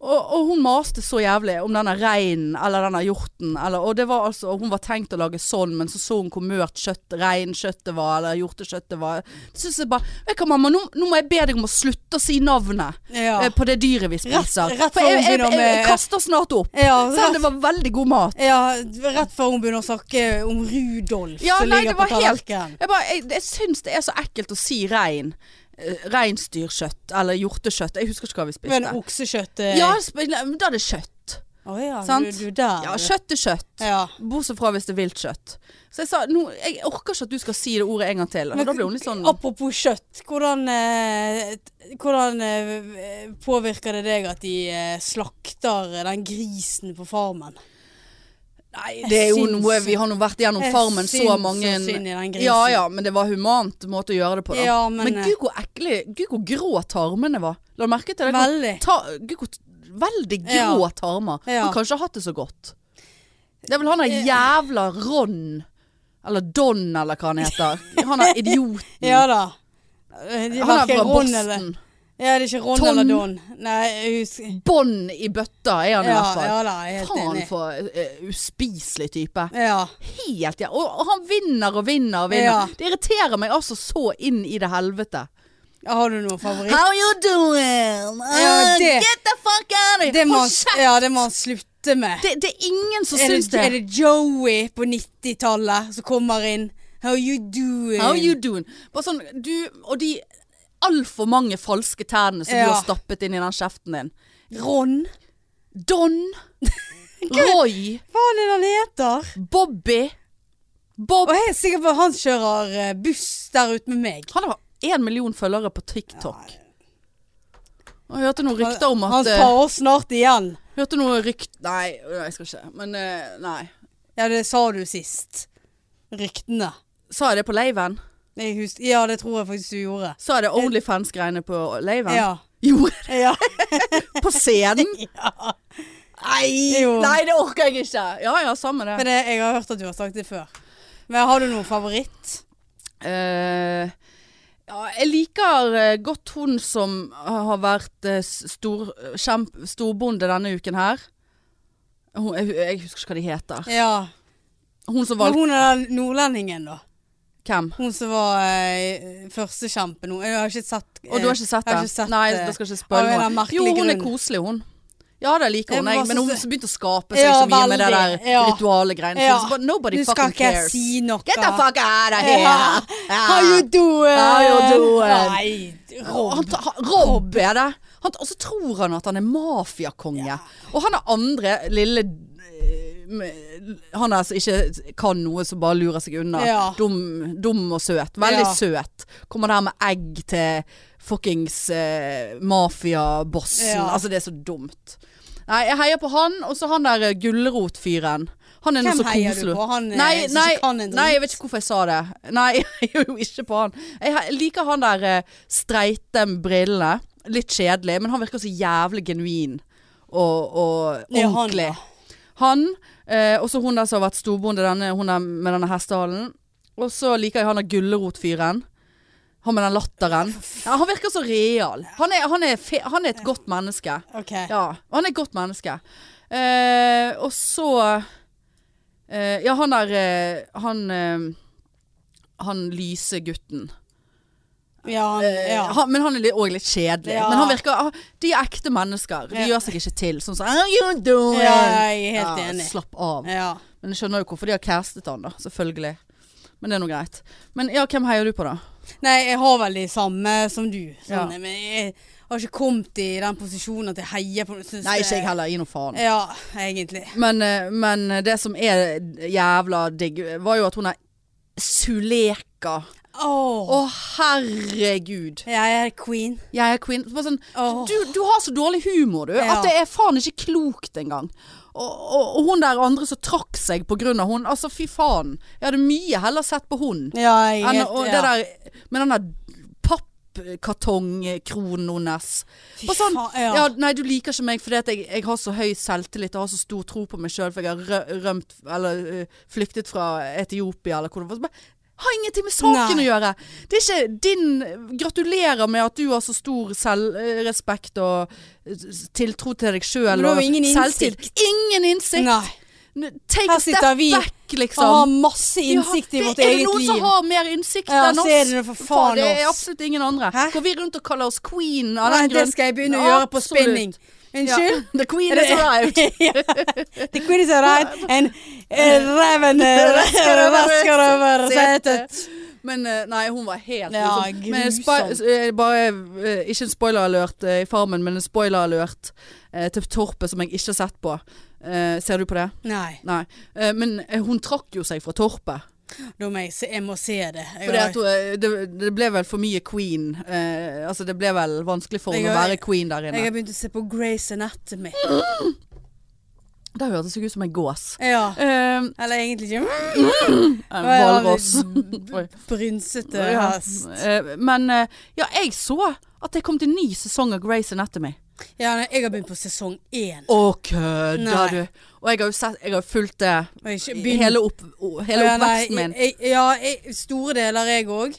Og, og hun maste så jævlig om denne reinen eller denne hjorten. Eller, og det var altså, og hun var tenkt å lage sånn, men så så hun hvor mørt kjøtt, reinkjøttet var, eller hjortekjøttet var. Så synes jeg bare Vet du hva, mamma, nå, nå må jeg be deg om å slutte å si navnet
ja.
eh, på det dyret vi spiser.
Rett- rett
For
før
jeg,
hun
jeg, jeg,
begynner
jeg,
med-
kaster snart opp.
Ja,
Selv om
rett,
det var veldig god mat.
ja, rett før hun begynner å snakke om Rudolf
Ja,
som
nei, det
ligger
var
på
helt-
tallerkenen.
Jeg, bare, jeg, jeg syns det er så ekkelt å si rein. eh, Reinsdyrkjøtt eller hjortekjøtt. Jeg husker ikke hva vi
Men
spiste.
oksekjøtt eh,
Ja, sp- men da er det kjøtt.
Å ja,
sant?
Du, du der.
Ja, kjøtt er kjøtt.
Ja.
Bortsett fra hvis det er vilt kjøtt. Så jeg sa nå, jeg orker ikke at du skal si det ordet en gang til. Og
Men
da blir hun litt sånn
Apropos kjøtt, hvordan, eh, t- hvordan eh, påvirker det deg at de eh, slakter den grisen på farmen?
Nei, det er jo
syns-
noe Vi har nå vært gjennom
Jeg
farmen så
syns
mange
så synd i den grisen.
Ja ja, men det var humant måte å gjøre det på. Da.
Ja, men, eh,
men gud hvor ekle Gud hvor grå tarmene var. La du merke til det?
Veldig.
Ta, gud hvor t- veldig grå tarmer.
Ja. Eh.
Han kan ikke ha hatt det så godt. Det er vel han der jævla Ron. Eller Don, eller hva han heter. Han er idioten.
Ja da. Eh, de
Mm. han er
verken
fra
Ron eller-
Boston.
Ja, det er ikke Ron
Tom.
eller Don. Nei, jeg husker
Bånd i bøtta er han i
ja,
hvert fall.
ja da, jeg er helt
Faen
enig.
for eh, uspiselig type.
Ja.
Helt, ja. Og og han vinner og vinner og vinner.
Ja.
Det irriterer meg altså så inn i det helvete.
Har du noen favoritt?
How you doing? Ah,
Ja, det-
Get the fuck out of
Det
here!
må,
Hold
han-
kjeft!
ja, det må han slutte med.
Det, det er ingen som
er,
syns
det,
det.
er det Joey på 90-tallet som kommer inn? How you doing?
How you doing? Bare sånn, du og de altfor mange falske tærne som
Ja.
du har stappet inn i den kjeften din.
Ron?
Don, Roy,
Hva faen er det han heter?
Bobby Bob
Og jeg er sikker på at han kjører eh, buss der ute med meg.
Han har én million følgere på TikTok. Og jeg hørte noen rykter om
Han
at eh,
tar oss snart igjen.
Hørte noe rykt... Nei, jeg skal ikke. Men eh, nei.
Ja, det sa du sist. Ryktene.
Sa jeg det på laven?
Jeg husker, ja, det tror jeg faktisk du gjorde.
Sa jeg det Onlyfans-greiene på laven?
Ja.
Jo,
ja.
på scenen? Nei,
Jo.
nei, det orker jeg ikke. Ja ja, samme det.
Men det, jeg har hørt at du har sagt det før. Men har du noen favoritt?
Eh, ja, jeg liker eh, godt hun som har vært eh, stor, kjemp, storbonde denne uken her. Hun, jeg, jeg husker ikke hva de heter.
Ja.
Hun som
Men
valgte
hun er den nordlendingen, da.
hvem?
Hun som var eh, førstekjempen. Hun- Jeg har ikke sett
Og du har ikke sett
jeg
det?
har ikke sett
Nei,
det.
da skal jeg ikke
Av en
spørre
eller annen
noe.
merkelig
Jo, hun er
grunn.
koselig, hun. Ja, det liker
Jeg
hun,
bare
jeg. Men hun
synes-
som begynte å skape seg
Ja,
så mye med det der
veldig, ja.
ritualegreiene.
Ja.
Så bare, Nobody
Du skal
fucking
ikke
cares.
si noe.
Get the fuck out of here!
Ja. How you doing?
How you doing?
Nei,
Og
Rob.
Han, ta- han, Rob er det. Han, og så tror han at han er mafiakonge. Og han er andre lille eh, m- Han er altså ikke kan noe som bare lurer seg unna.
Ja.
Dum, dum og søt. Veldig
Ja.
søt. Kommer der med egg til fuckings eh, mafiabossen.
Ja.
Altså, det er så dumt. Nei, jeg heier på han, og så han der eh, gulrotfyren. Han er nå
Hvem
så
heier
koselig.
du på? Han, eh,
Nei,
som
nei,
ikke kan en
nei,
dritt?
jeg vet ikke hvorfor jeg sa det. Nei, jeg gjør jo ikke på han. Jeg he- liker han der eh, streite med brillene. Litt kjedelig, men han virker så jævlig genuin og, og
Ja, han,
ordentlig.
ja.
Han, eh, og så hun der som har vært storbonde denne, hun der med denne hestehalen. Og så liker jeg han der gulrotfyren. Han med den latteren. Ja, han virker så real. Han er, han er, fe han er et godt menneske.
Ok.
Ja, han er et godt menneske. Eh, og så eh, Ja, han der eh, Han eh, Han lyse gutten.
Ja, han, ja.
Eh, Han, men han er òg litt kjedelig.
Ja.
Men han virker ah, De er ekte mennesker. De
Ja.
gjør seg ikke til. Sånn som How you doing?
ja, jeg er helt
Ja,
enig.
Slapp av.
Ja.
Men jeg skjønner jo hvorfor de har castet han, da. Selvfølgelig. Men det er nå greit. Men ja, hvem heier du på, da?
Nei, jeg har vel de samme som du. Sånn,
Ja.
Men jeg har ikke kommet i den posisjonen at jeg heier på noen. Synes
Nei, ikke
det-
jeg heller. Gi nå faen.
Ja, egentlig.
Men, eh, men det som er jævla digg, var jo at hun er Suleka Metallica. Å, herregud.
Jeg er queen.
Jeg er queen. Det var Sånn,
Åh.
du, du har så dårlig humor, du.
Ja.
At det er faen ikke klokt engang. Og, og, og hun der andre som trakk seg på grunn av hun. Altså, fy faen. Jeg hadde mye heller sett på hun.
Ja, jeg er
Enn,
helt-
og
ja.
det der med den der pappkartongkronen hennes.
Fy
Bare sånn
faen,
ja.
ja.
nei, du liker ikke meg fordi at jeg, jeg har så høy selvtillit og har så stor tro på meg sjøl, for jeg har rø- rømt eller øh, flyktet fra Etiopia eller hvor det var. Så bare, Har ingenting med saken
Nei.
å gjøre! Det er ikke din Gratulerer med at du har så stor selvrespekt og øh, s- tiltro til deg
Men
sjøl.
du har jo ingen
Ingen innsikt!
Nei.
N- Take
Her
a
sitter
step
vi
back, liksom.
Han har masse innsikt i
Ja,
vårt
det- Er
eget
det noen som
liv.
har mer innsikt
Ja,
enn
så
oss?
er det nå for faen
det er
oss.
absolutt ingen andre.
Hæ?
Går vi rundt og kaller oss queen av
Nei,
den grunn?
det skal jeg begynne å gjøre på
Absolutt.
spinning. Unnskyld?
Ja. The queen
Er det-
has arrived.
The queen is arrived, and eh, reven eh,
Rasker over
rasker over setet.
Men eh, nei, hun var helt
Ja,
grusom. Men
grusom.
spo- eh, bare, eh, ikke en spoiler-alert eh, i Farmen, men en spoiler-alert eh, til Torpet som jeg ikke har sett på. Eh, ser du på det?
Nei,
Nei. Eh, men eh, hun trakk jo seg fra Torpet.
da må jeg se, jeg må se det. Jeg
Fordi
har-
at hun, eh, det, det ble vel for mye queen. Eh, altså det ble vel vanskelig for henne
Jeg
å
har-
være queen der
jeg
inne.
har begynt å se på Grace Anatomy.
Det hørtes jo ut som en gås.
Ja.
Eh,
Eller egentlig ikke.
en
Å, ja,
Hvalross. Oi.
Brynsete
Ja.
hest.
Eh, Men eh, ja, jeg så at det kom til ny sesong av Grace Anatomy.
Ja, nei, jeg har begynt på sesong én.
Å, kødder
Nei.
du? Og jeg har jo sett, jeg har jo fulgt det
Og ikke begynt-
hele, opp, o- hele
Ja, nei,
oppveksten min.
jeg- jeg- Ja, jeg, store deler jeg òg.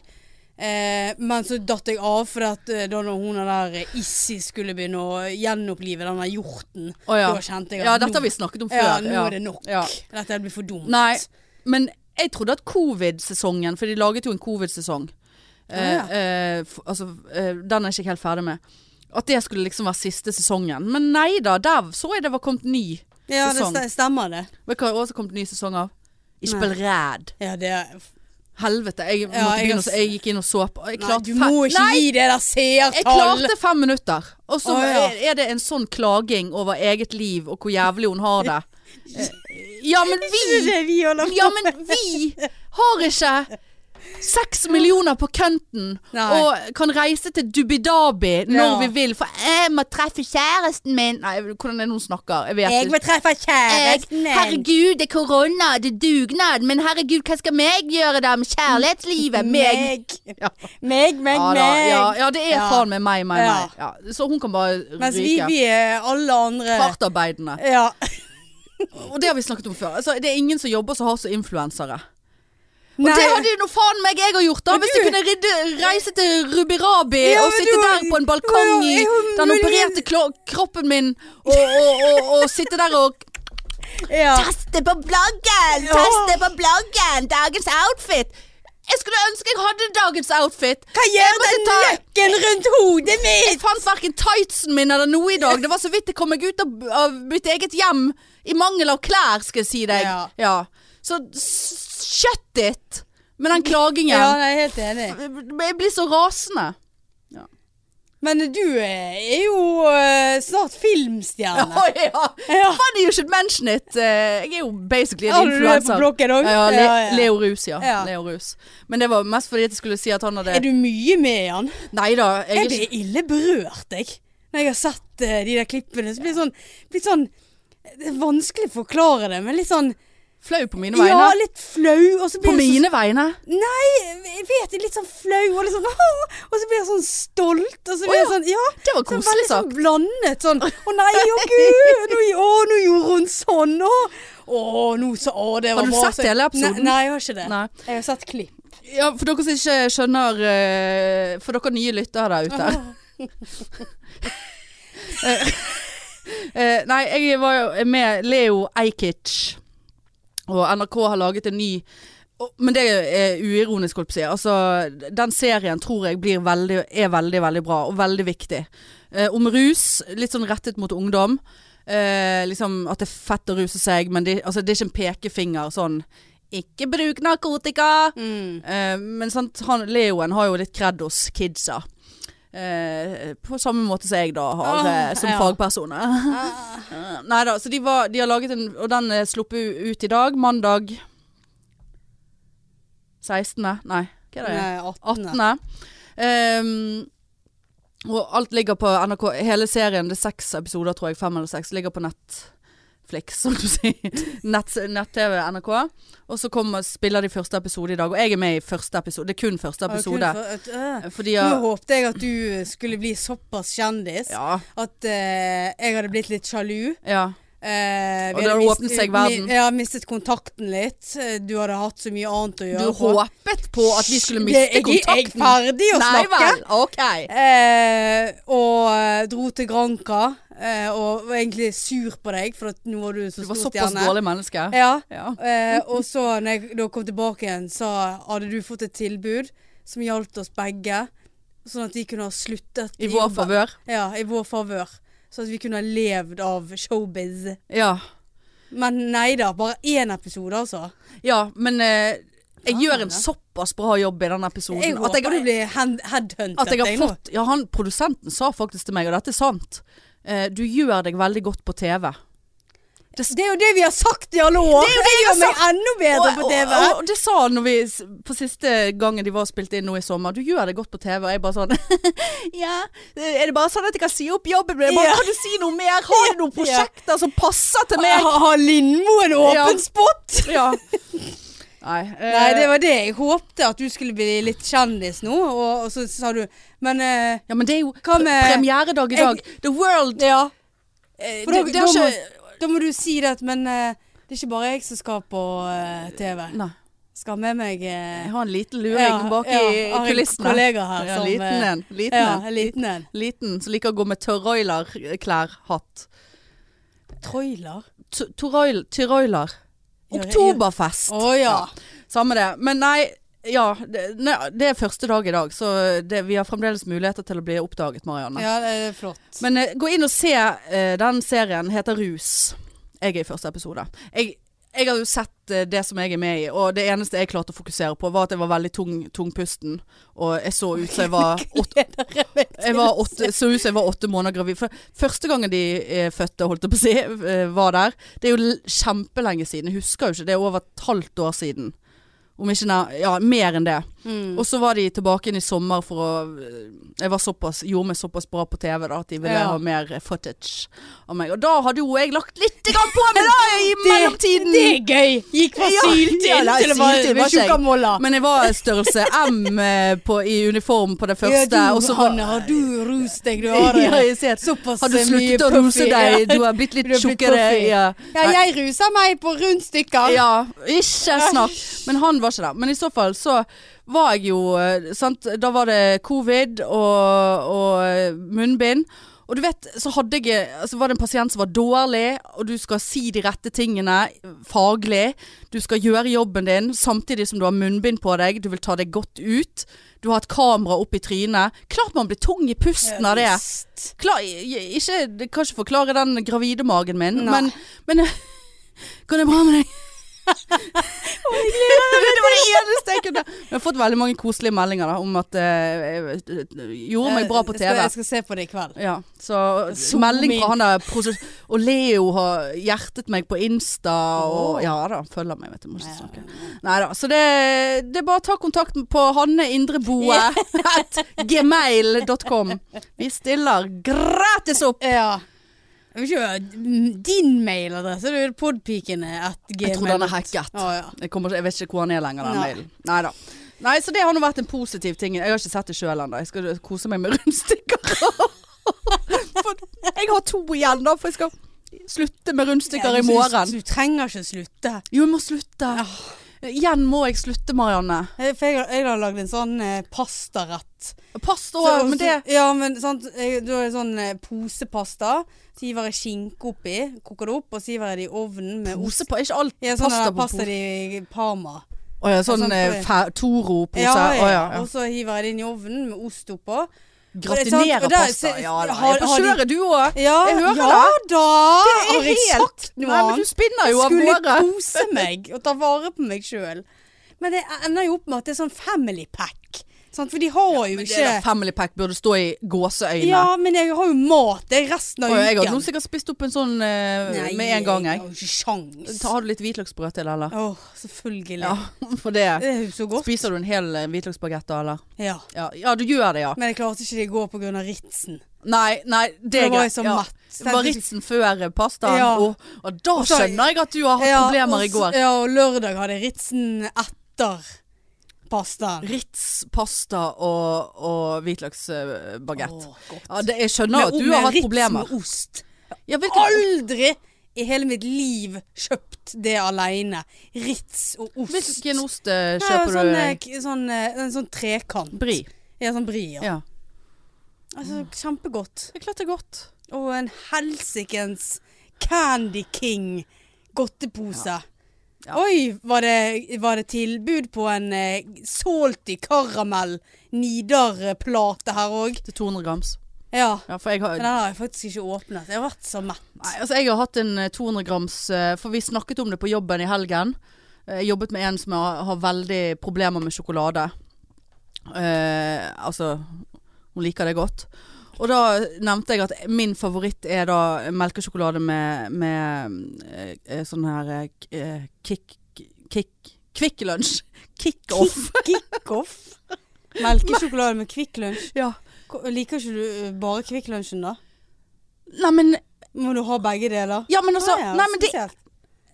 Eh, men så datt jeg av fordi at eh, da når hun der eh, Issi skulle begynne å gjenopplive den der hjorten,
Å, ja.
da kjente jeg at
Ja, dette har
nå,
vi snakket om før.
ja, nå er det nok.
Ja.
Dette blir for dumt.
Nei, men jeg trodde at covid-sesongen, for de laget jo en covid-sesong
Ja, ja.
eh, eh, f- altså, eh, Den er jeg ikke helt ferdig med. At det skulle liksom være siste sesongen. Men nei da, der så jeg det var kommet ny.
ja, det
sesong.
st- stemmer det.
Vet du hva det også kommet ny sesong av? Ikke
Nei.
bli redd.
Ja, det er-
Helvete. Jeg,
Ja,
måtte
jeg
begynne,
har
å se- jeg gikk inn og så på. Jeg
Nei,
klarte
du
fe-
må ikke
Nei,
gi det der
Jeg
seertall.
klarte fem minutter, og så
Å, ja.
er- er det en sånn klaging over eget liv og hvor jævlig hun har det. Eh, Ja, men
Det er
vi
det vi holder på
Ja, men vi har ikke seks millioner på kønten
Nei.
og kan reise til Dubidabi når
Ja.
vi vil, for jeg må treffe kjæresten min Nei, hvordan er det hun snakker? Jeg vet
Jeg må
ikke.
treffe
Jeg,
kjæresten min.
herregud, det er korona, det er dugnad, men herregud, hva skal meg gjøre da med kjærlighetslivet? Meg. Ja.
Meg, meg,
Ja, da,
meg.
ja, ja, det er
Ja.
faen meg meg, meg,
Ja.
meg. Ja. Så hun kan bare
Mens vi,
ryke.
vi er alle andre
Partarbeidende.
Ja.
Og det har vi snakket om før. Altså, det er ingen som jobber som har så influensere. Og
Nei.
det hadde jo noe faen meg jeg har gjort, da!
Men
Hvis
du-
jeg kunne ridde, reise til Rubirabi
Ja,
og
men
sitte
du-
der på en balkong
Ja,
i
jeg har
den
muligens-
opererte klo- kroppen min, og, og, og, og sitte der og
ja.
Teste på bloggen!
Ja.
Teste på bloggen! Dagens outfit! Jeg skulle ønske jeg hadde dagens outfit.
Hva
Jeg
gjør
måtte
den
ta-
nøkken rundt hodet
Jeg
mitt?
fant verken tightsen min eller noe i dag. Det var så vidt jeg kom meg ut av, av mitt eget hjem i mangel av klær, skal jeg si deg.
Ja.
Så s- shut it med den klagingen.
Ja, jeg er helt enig.
Jeg blir så rasende.
Men du eh, er jo eh, snart filmstjerne.
Å, ja.
Ja.
Funny you should mention it. Eh, Jeg er jo basically en
Har du det
influenser.
på blokken også?
Ja, Le
Ja, ja.
Leo Rus, ja.
Ja.
Leo Rus. Men det var mest fordi at jeg skulle si at han
Er
hadde
du mye med i han?
Nei da. Jeg
Jeg
er ikke
blir ille berørt, jeg. Når jeg har sett eh, de der klippene, så blir det sånn, blir det sånn Det er vanskelig å forklare det, men litt sånn
flau på mine vegne.
Ja, litt flau. Og så blir
på
det så-
mine vegne.
Nei, jeg vet det. Litt sånn flau og litt sånn «Åh!» Og så blir jeg sånn stolt. Og så blir
Å
jeg
ja,
sånn Ja.
Det var
Så
koselig
veldig sånn
sagt.
blandet sånn Å nei, å gud! Nå, å, nå gjorde hun sånn! Å, å nå så Å, det
Har
var
du
bra.
sett
så-
hele episoden?
Nei, nei, jeg har ikke det.
Nei.
Jeg har sett klipp.
Ja, for dere som ikke skjønner eh, For dere nye lyttere der ute. Eh, nei, jeg var jo med Leo Ajkic. Og NRK har laget en ny og- Men det er uironisk, holdt jeg på å si. Altså, den serien tror jeg blir veldig, er veldig, veldig bra, og veldig viktig. Eh, om rus, litt sånn rettet mot ungdom. Eh, liksom at det er fett å ruse seg, men det, altså, det er ikke en pekefinger sånn Ikke bruk narkotika!
Mm.
Eh, men sant, han, Leoen har jo litt cred hos kidsa. Eh, på samme måte som jeg da har
Ah,
eh, som
ja.
fagperson.
Ah,
Nei da, så de, var, de har laget en Og den er sluppet u- ut i dag, mandag 16. Nei. Hva er det?
Nei, 18.
18. Ehm, og alt ligger på NRK. Hele serien, det er seks episoder, tror jeg. Fem eller seks. Ligger på Netflix, som du sier. Nett- Nett-TV, NRK. Og så kommer, spiller de første episode i dag. Og jeg er med i første episode. Det er kun første
Ja, kun
episode.
for at- øh.
Fordi
Nå
jeg
håpte jeg at du skulle bli såpass kjendis
Ja.
at eh, jeg hadde blitt litt sjalu.
ja.
Eh, vi
Og det
hadde
hadde
mist-
åpnet seg
mi-
verden.
Ja, mistet kontakten litt. Eh, Du hadde hatt så mye annet å gjøre.
Du
på.
håpet på at vi skulle miste
Det- jeg- Jeg er
kontakten.
ferdig å
Nei
snakke.
vel. OK.
Eh, og eh, dro til Granca eh, og var egentlig sur på deg, for at nå var du så
Du var
stor
såpass
stjerne.
dårlig menneske.
Ja.
Ja.
Eh, og så når jeg da kom tilbake igjen, sa hadde du fått et tilbud som gjaldt oss begge. Sånn at vi kunne ha sluttet
I vår
jobben.
favør.
Ja, i vår favør. Sånn at vi kunne ha levd av showbiz.
Ja.
Men nei da, bare én episode, altså.
Ja, men eh, jeg
Faen,
gjør en
ja.
såpass bra jobb i den episoden.
Jeg
at,
håper du
jeg,
blir hand- headhuntet.
at jeg har
jeg, nå.
fått Ja, han produsenten sa faktisk til meg, og dette er sant. eh, du gjør deg veldig godt på TV.
Det er jo det vi har sagt i alle år! Det er jo det vi har sagt! Enda bedre på TV.
Og, og, og det sa han når vi, s- på siste gangen de var spilt inn nå i sommer. Du gjør det godt på TV. Og jeg bare sånn Ja, er det bare sånn at jeg kan si opp jobben min? Jeg bare,
Ja.
Kan du si noe mer? Har du noen
Ja.
prosjekter som passer til meg?
Har- Har Lindmo en åpen
Ja.
spot?
Ja. Nei. eh,
Nei, det var det. Jeg håpte at du skulle bli litt kjendis nå, og, og så sa du Men eh,
ja, men det er jo
Hva med-
premieredag i dag. The world
Ja.
eh,
For da,
det, det
da,
har
må,
ikke
da må du si det at Men eh, det er ikke bare jeg som skal på eh, TV.
Nei.
Skal ha med meg eh,
Jeg har en liten luring
Ja,
bak
ja,
i
har en
kulissene.
kollega her
ja,
som,
liten
eh,
en. Liten,
Ja,
en.
en liten en.
liten som liker å gå med toroilerklær, hatt.
Troiler?
T- Toroil, tyroiler.
Ja, ja.
Oktoberfest.
Å ja.
Samme det. Men nei, ja. Det, nei, det er første dag i dag, så det, vi har fremdeles muligheter til å bli oppdaget, Marianne.
Ja, det er flott.
Men eh, gå inn og se eh, den serien heter Rus. Jeg er i første episode. Jeg, jeg har jo sett eh, det som jeg er med i, og det eneste jeg klarte å fokusere på, var at jeg var veldig tung, tungpusten. Og jeg så ut som jeg var åtte, jeg var åtte, så ut som jeg var åtte måneder gravid. For første gangen de eh, fødte, holdt jeg på å si, eh, var der. Det er jo l- kjempelenge siden. Jeg husker jo ikke. Det er over et halvt år siden. Om ikke nær, ja, mer enn det.
Mm.
Og så var de tilbake inn i sommer for å eh, Jeg var såpass, gjorde meg såpass bra på TV da at de ville
Ja.
ha mer eh, footage av meg. Og da hadde jo jeg lagt litt grann på meg da i mellomtiden!
Det er gøy! Gikk fra
Ja,
syltynn
ja, nei,
til
syltynn
å være
var
med
ikke jeg.
tjukkamolla.
Men jeg var størrelse M eh, på, i uniform på det første.
Ja, du,
og så var-
Hanne, har du rost deg? Du har
Ja,
det.
jeg ser.
Såpass
Har du
mye
sluttet å
puffy.
rose deg? Du har blitt litt
Du har blitt
tjukkere.
puffy.
Ja.
Ja, jeg ruser meg på rundstykker.
Ja, ikke snakk. Men han var ikke der. Men i så fall så var jeg jo eh, sant? Da var det covid og, og eh, munnbind. Og du vet, så hadde jeg, altså var det en pasient som var dårlig, og du skal si de rette tingene faglig. Du skal gjøre jobben din samtidig som du har munnbind på deg. Du vil ta deg godt ut. Du har et kamera opp i trynet. Klart man blir tung i pusten av det.
Visst.
Klar, ikke, det kan ikke forklare den gravide magen min,
Nei.
men, men Går det bra med deg? det var det eneste jeg kunne Jeg har fått veldig mange koselige meldinger da, om at eh, jeg gjorde meg bra på
Jeg
TV.
skal, jeg skal se på det i kveld.
Ja, så
Zoom
melding
inn.
fra han der proses- Og Leo har hjertet meg på Insta og Ja da, han følger meg, vet du. Må ikke snakke. Nei da. Så det, det er bare å ta kontakt på hanneindreboe at gmail.com. Vi stiller gratis opp!
Ja. Jeg vet ikke, mm, Din mailadresse det er podpikene at gmail.
Jeg tror den er hacket.
Å, ja.
Jeg, kommer, ikke- jeg vet ikke hvor han er lenger, den
Nei.
mailen. Nei da. Nei, så det har nå vært en positiv ting. Jeg har ikke sett det sjøl ennå. Jeg skal kose meg med rundstykker. For jeg har to igjen, da, for jeg skal slutte med rundstykker i
Ja, du-
morgen.
Du trenger ikke slutte.
Jo, jeg må slutte. Igjen må jeg slutte, Marianne.
Eh, For jeg, har- jeg har lagd en sånn eh, pastarett.
Pass
Så-
deg, men det
Ja, men sant, eh, da er det sånn eh, posepasta. Så hiver jeg skinke oppi, koker det opp, og så hiver jeg det i ovnen med ost.
Pose på, ikke alt
Ja, sånn
pasta
pasta,
på
pasta
pose.
i Parma.
Å ja, sånn
sånn
eh,
for-
fa- Toro-pose.
Ja, ja.
Å ja, ja.
Og så hiver jeg det inn i ovnen med ost oppå. sant,
Gratinerer
sånn- og der
pasta.
ser-
Ja da.
har-
Jeg er på
har de-
kjøret, du òg.
Ja,
Jeg hører
ja da!
Det
Har jeg
er helt
sagt noe
Nei, men du
annet?
spinner jo
Jeg
av
skulle
gårde.
kose meg og ta vare på meg sjøl. Men det ender jo opp med at det er sånn family pack. Sant? For de har jo
Men det
ikke
der family pack burde stå i gåseøyne.
Ja, men jeg har jo mat jeg, resten av
og jeg hadde
uken.
nå sikkert spist opp en sånn eh,
Nei,
med en gang,
jeg.
jeg.
har jo ikke sjans.
Ta, har du litt hvitløksbrød til, eller?
Åh, selvfølgelig.
Ja, for det.
Det er jo så godt.
Spiser du en hel eh, hvitløksbagett da, eller?
Ja.
Ja, ja, du gjør det, ja.
Men jeg klarte ikke det i går pga. ritsen.
Nei, nei, det
Da
er
var jeg
greit.
så
Ja.
matt.
Det var ritsen før eh, pastaen.
Ja.
Og, og da
Og så-
skjønner jeg at du har hatt problemer i
og s-
går.
Ja, og lørdag hadde jeg ritsen etter pastaen.
Rits, pasta og, og hvitløksbagett.
Åh, godt.
Ja, det, jeg skjønner at du har hatt problemer.
Med ost.
Ja, hvilken-
Aldri i hele mitt liv kjøpt det aleine. Ritz og ost.
hvilken ost eh,
Nei,
kjøper
sånn,
du?
eh,
deg?
k- Sånn, eh, en sånn trekant.
Bri.
Ja, sånn bri. Ja.
Ja.
Altså, kjempegodt.
Det er klart det er godt.
Og en helsikens Candy King godtepose.
Ja.
Oi, var det, var det tilbud på en eh, salty karamell Nidar-plate her òg?
Til 200 grams.
Ja.
Ja, for jeg har
Men den har jeg faktisk ikke åpnet. Jeg har vært så mett.
Nei, altså jeg har hatt en eh, 200 grams eh, For vi snakket om det på jobben i helgen Eh, Jeg jobbet med en som har, har veldig problemer med sjokolade Eh, Altså Hun liker det godt Og da nevnte jeg at min favoritt er da Melkesjokolade med, med eh, eh, Sånn her eh, k- eh, Kick Kick Quick lunch Kick off
Kickoff. Melkesjokolade med Kvikk Lunsj.
ja.
Ko- Liker ikke du eh, bare Kvikk Lunsjen, da?
Nei men
Må du ha begge deler?
Ja men altså
Ah, ja,
Nei men det
spesielt.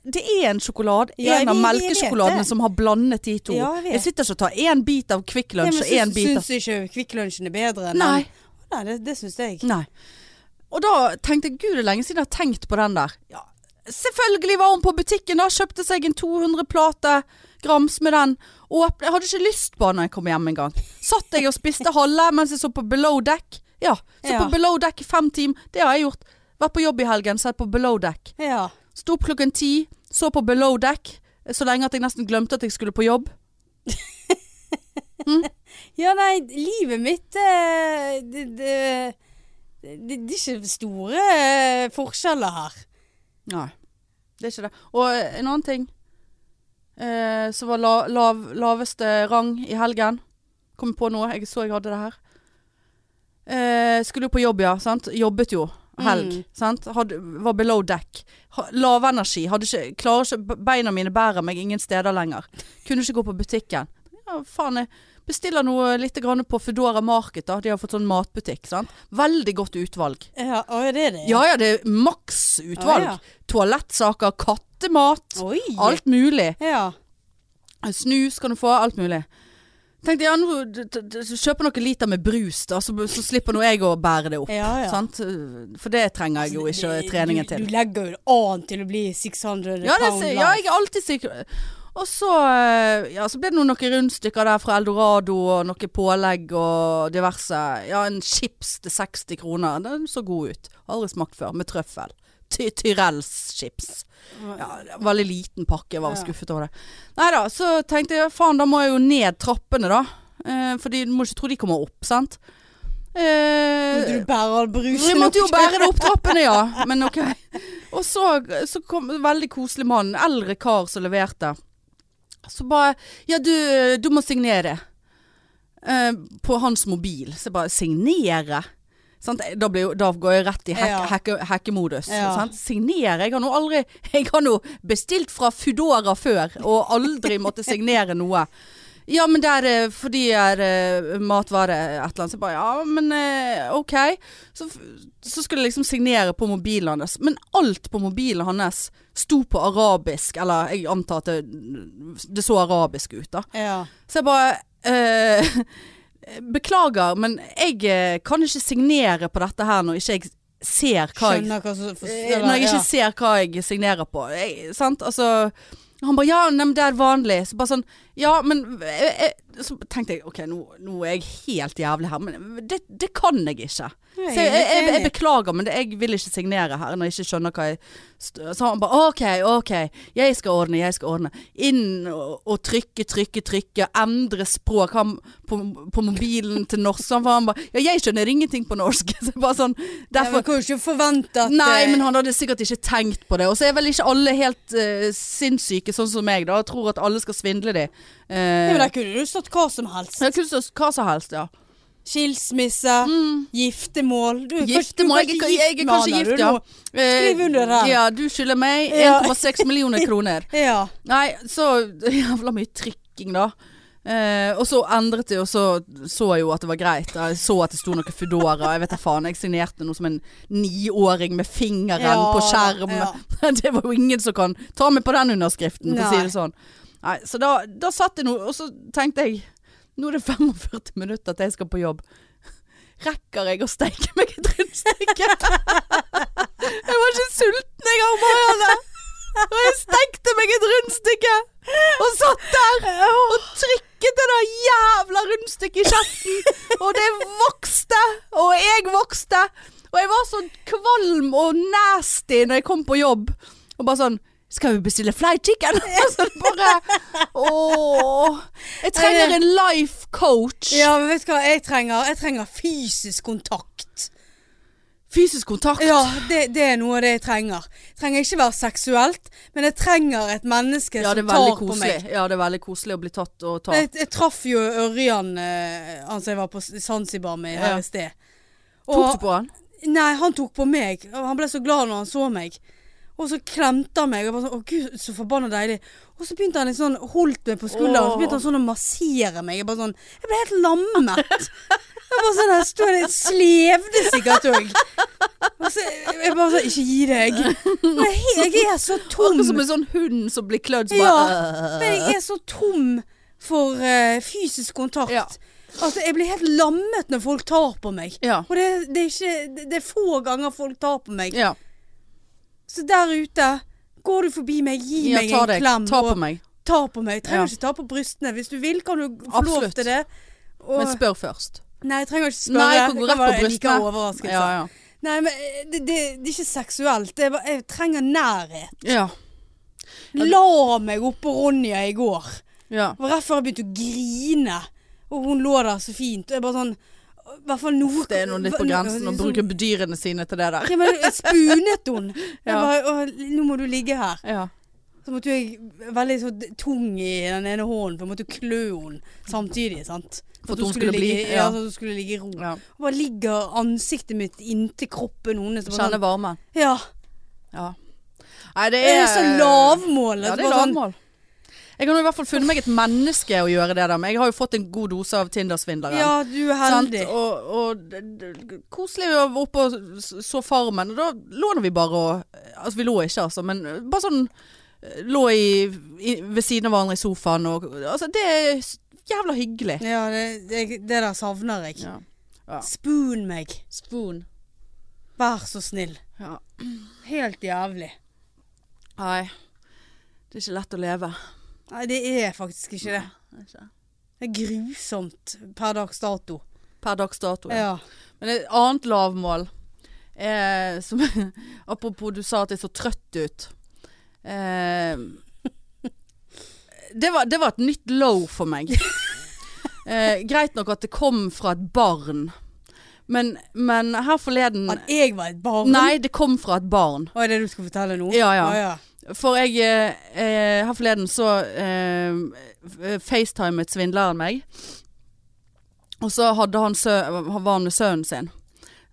Det er en sjokolade,
Ja,
en av
jeg vet- jeg vet
melkesjokoladene
det.
som har blandet de to.
Ja, jeg
jeg,
vet.
sitter ikke og tar én bit av Kvikk
Ja, men
Lunsj og én
syns-
bit av
Syns ikke Kvikk Lunsjen er bedre enn
Nei. Mm.
Nei, det, det syns jeg.
Nei. Og da tenkte jeg gud, det er lenge siden jeg har tenkt på den der. Ja, selvfølgelig var hun på butikken da, kjøpte seg en 200 plate grams med den. Og jeg hadde ikke lyst på den når jeg kom hjem engang. Satt jeg og spiste halve mens jeg så på Below Deck. Ja, så
Ja.
på Below Deck i fem timer. Det har jeg gjort. Vært på jobb i helgen, sett på Below Deck.
Ja.
Sto opp klokken ti, så på Below Deck så lenge at jeg nesten glemte at jeg skulle på jobb.
Ja, nei, livet mitt eh, det, det, det, det er ikke store eh, forskjeller her.
Nei, det er ikke det. Og eh, en annen ting eh, som var la, lav, laveste rang i helgen. Kom på nå, jeg så jeg hadde det her. Eh, skulle jo på jobb, ja. sant? Jobbet jo. Helg.
Mm.
Sant? Hadde, var below deck. Ha, lav energi. Hadde ikke, klarer ikke, be- beina mine bærer meg ingen steder lenger. Kunne ikke gå på butikken. Ja, faen, jeg bestiller noe litt grann på Foodora Market. da. De har fått sånn matbutikk. sant? Veldig godt utvalg.
Ja, å, det er det.
Ja ja, det er maks utvalg.
Å, ja.
Toalettsaker, kattemat,
Oi.
alt mulig.
Ja.
Snus kan du få, alt mulig. Tenkte jeg, ja, nå d- d- d- kjøper noen liter med brus, da, så, så slipper nå jeg å bære det opp.
Ja, ja. Altså,
Sant? For det trenger Sånn. jeg jo ikke treningen
Du,
til.
du legger jo det an til å bli 600
Ja, det,
pound
ser-
lang.
ja, jeg er alltid syk. Og så, eh, ja, så ble det nå noen rundstykker der fra Eldorado og noe pålegg og diverse. Ja, en chips til 60 kroner. Den så god ut. Aldri smakt før. Med trøffel. Ty Tyrells chips. Ja, det var veldig liten pakke. Jeg var
Ja.
skuffet over det. Nei da, så tenkte jeg faen, da må jeg jo ned trappene, da. Eh, for du må ikke tro de kommer opp, sant. Eh,
Måtte du bære all brusen
vi måtte jo
opp til-
bære det opp trappene, ja. Men ok. Og så, så kom en veldig koselig mann, eldre kar som leverte. Så bare Ja, du, du må signere. Eh, på hans mobil. Så jeg bare Signere? Sant? Da, blir, jo- da går jeg rett i hack,
Ja.
hacke- hackemodus.
Ja.
Sant? Signere? Jeg har nå aldri Jeg har nå bestilt fra Foodora før, og aldri måtte signere noe. Ja, men det er eh, fordi jeg er eh, matvare et eller annet. Så jeg bare ja, men eh, ok. Så, f- så skulle jeg liksom signere på mobilen hans. Men alt på mobilen hans sto på arabisk. Eller jeg antar at det, det så arabisk ut, da.
Ja.
Så jeg bare eh, Beklager, men jeg eh, kan ikke signere på dette her når ikke jeg ser hva jeg
Skjønner hva som for-
Eh,
eller,
Når jeg ikke
ja.
ser hva jeg signerer på. Jeg, sant? Altså, han bare 'ja, nei, men det er vanlig'. Så bare sånn Ja, men jeg, jeg, Så tenkte jeg OK, nå, nå er jeg helt jævlig her, men det, det kan jeg ikke.
Nei,
Så jeg, jeg, jeg, jeg
enig.
beklager, men det, jeg vil ikke signere her når jeg ikke skjønner hva jeg st- Så han bare OK, OK, jeg skal ordne, jeg skal ordne. Inn og, og trykke, trykke, trykke. Endre språk. Han på, på mobilen til norsk. Så han var- han bare Ja, jeg skjønner ingenting på norsk. Så jeg bare sånn
Ja, men
Derfor
Du kan jo ikke forvente at
Nei,
eh,
men han hadde sikkert ikke tenkt på det. Og så er vel ikke alle helt eh, sinnssyke, sånn som meg, da. Jeg tror at alle skal svindle de.
Ja,
Eh,
men der kunne du stått hva som helst.
det kunne stått hva som helst, ja.
Skilsmisse, giftemål. Du er
Giftemål. Mm. Jeg,
kanskje- du
er ka- jeg er kanskje
med han,
gift,
er
ja.
du nå? Skriv under her.
Eh, Ja, du skylder meg
Ja.
1,6 millioner kroner.
Ja.
Nei, så jævla mye trykking, da. Eh, og så endret jeg, og så så jeg jo at det var greit. Jeg så at det sto noe Foodora. Jeg vet da faen. Jeg signerte noe som en niåring med fingeren
Ja,
på skjerm. Det var jo ingen som kan ta meg på den underskriften, for å si det sånn. Nei, så da, da satt jeg nå, og så tenkte jeg Nå er det 45 minutter til jeg skal på jobb. Rekker jeg å steike meg et rundstykke? jeg var ikke sulten jeg om morgenen. Og jeg stekte meg et rundstykke! Og satt der og trykket det der jævla rundstykket i kjeften. Og det vokste, og jeg vokste. Og jeg var så kvalm og nasty når jeg kom på jobb. Og bare sånn Skal vi bestille fly chicken? Og så bare Ååå. Jeg trenger en life coach.
ja, men vet du hva jeg trenger? Jeg trenger fysisk kontakt.
Fysisk kontakt.
Ja, det, det er noe av det jeg trenger. Trenger ikke være seksuelt, men jeg trenger et menneske
Ja, det er
som tar
veldig
på
koselig.
meg.
Ja, det er veldig koselig å bli tatt og ta.
Jeg, jeg traff jo Ørjan, eh, han som jeg var på Zanzibar med her
Ja.
i sted.
Tok du på han?
Nei, han tok på meg. og Han ble så glad når han så meg. Og så klemte han meg. Og bare sånn, å gud, så forbanna deilig. Og så begynte han litt sånn, holdt meg på skulderen og så begynte han sånn å massere meg. Jeg, bare sånn, jeg ble helt lammet. Jeg bare sånn, jeg stod der, slevde sikkert òg. Og så jeg bare sånn, ikke gi deg. Men jeg, jeg er så tom.
Akkurat som en sånn hund som blir klødd som
Ja,
bare øh.
Men jeg er så tom for eh, fysisk kontakt.
Ja.
Altså, jeg blir helt lammet når folk tar på meg.
Ja.
Og det, det, er ikke, det- det er få ganger folk tar på meg.
ja.
Så der ute går du forbi meg, gi
ja
meg
ta
en
deg.
klem.
Ta på
og
meg.
ta på meg. Jeg trenger
Ja.
ikke ta på brystene. Hvis du vil, kan du få lov
Absolutt.
til det. Og,
Men spør først.
nei, jeg trenger ikke spørre.
Nei, jeg kan gå
Det
rett på
være en
brystene.
Like overraskelse.
Ja, ja.
Nei, men eh, det, det, det er ikke seksuelt. Det er bare, jeg trenger nærhet.
Ja.
La meg oppå Ronja i går.
ja.
Det var rett før jeg begynte å grine. Og hun lå der så fint. Og jeg bare sånn I hvert fall noe
Det er noe litt på grensen å
Sånn-
bruke dyrene sine til det der.
Ja, men jeg spunet hun. Jeg
Ja.
bare «Å, Nå må du ligge her.
Ja.
Så måtte jeg veldig så tung i den ene hånden, for jeg måtte klø henne samtidig. sant?
For at hun skulle
ligge,
bli,
ja.
ja.
så hun skulle ligge i ro.
ja.
Og bare ligger ansiktet mitt inntil kroppen hennes. og bare
Kjenne
sånn,
varmen.
Ja.
Ja. Nei, det
Det
er
er så lavmålet.
Ja, det
bare
er
sånn,
lavmål. Jeg har nå i hvert fall funnet meg et menneske å gjøre det der med. Jeg har jo fått en god dose av Tinder-svindleren.
Ja, du er
Sant?
heldig.
Og, og d- d- koselig å være oppe og s- så Farmen. Og da lå nå vi bare og Altså, vi lå ikke, altså, men eh, bare sånn eh, Lå i, i, ved siden av hverandre i sofaen og Altså, det er s- jævla hyggelig.
Ja, det, det, det der savner jeg.
Ja. Ja.
Spoon meg.
Spoon.
Vær så snill.
Ja.
Helt jævlig.
Nei. Det er ikke lett å leve.
Nei, det er faktisk ikke det. Det er grusomt per dags dato.
Per dags dato. Ja.
Ja.
Men et annet lavmål eh, som, Apropos du sa at jeg så trøtt ut. Eh, det, var, det var et nytt low for meg. Eh, greit nok at det kom fra et barn, men, men her forleden
At jeg var et barn.
Nei, det kom fra et barn.
Å, er det du skal fortelle nå?
Ja, ja.
Å, ja.
For jeg eh, eh, Her forleden så eh, f- FaceTimet svindleren meg. Og så hadde han sø var han med sønnen sin.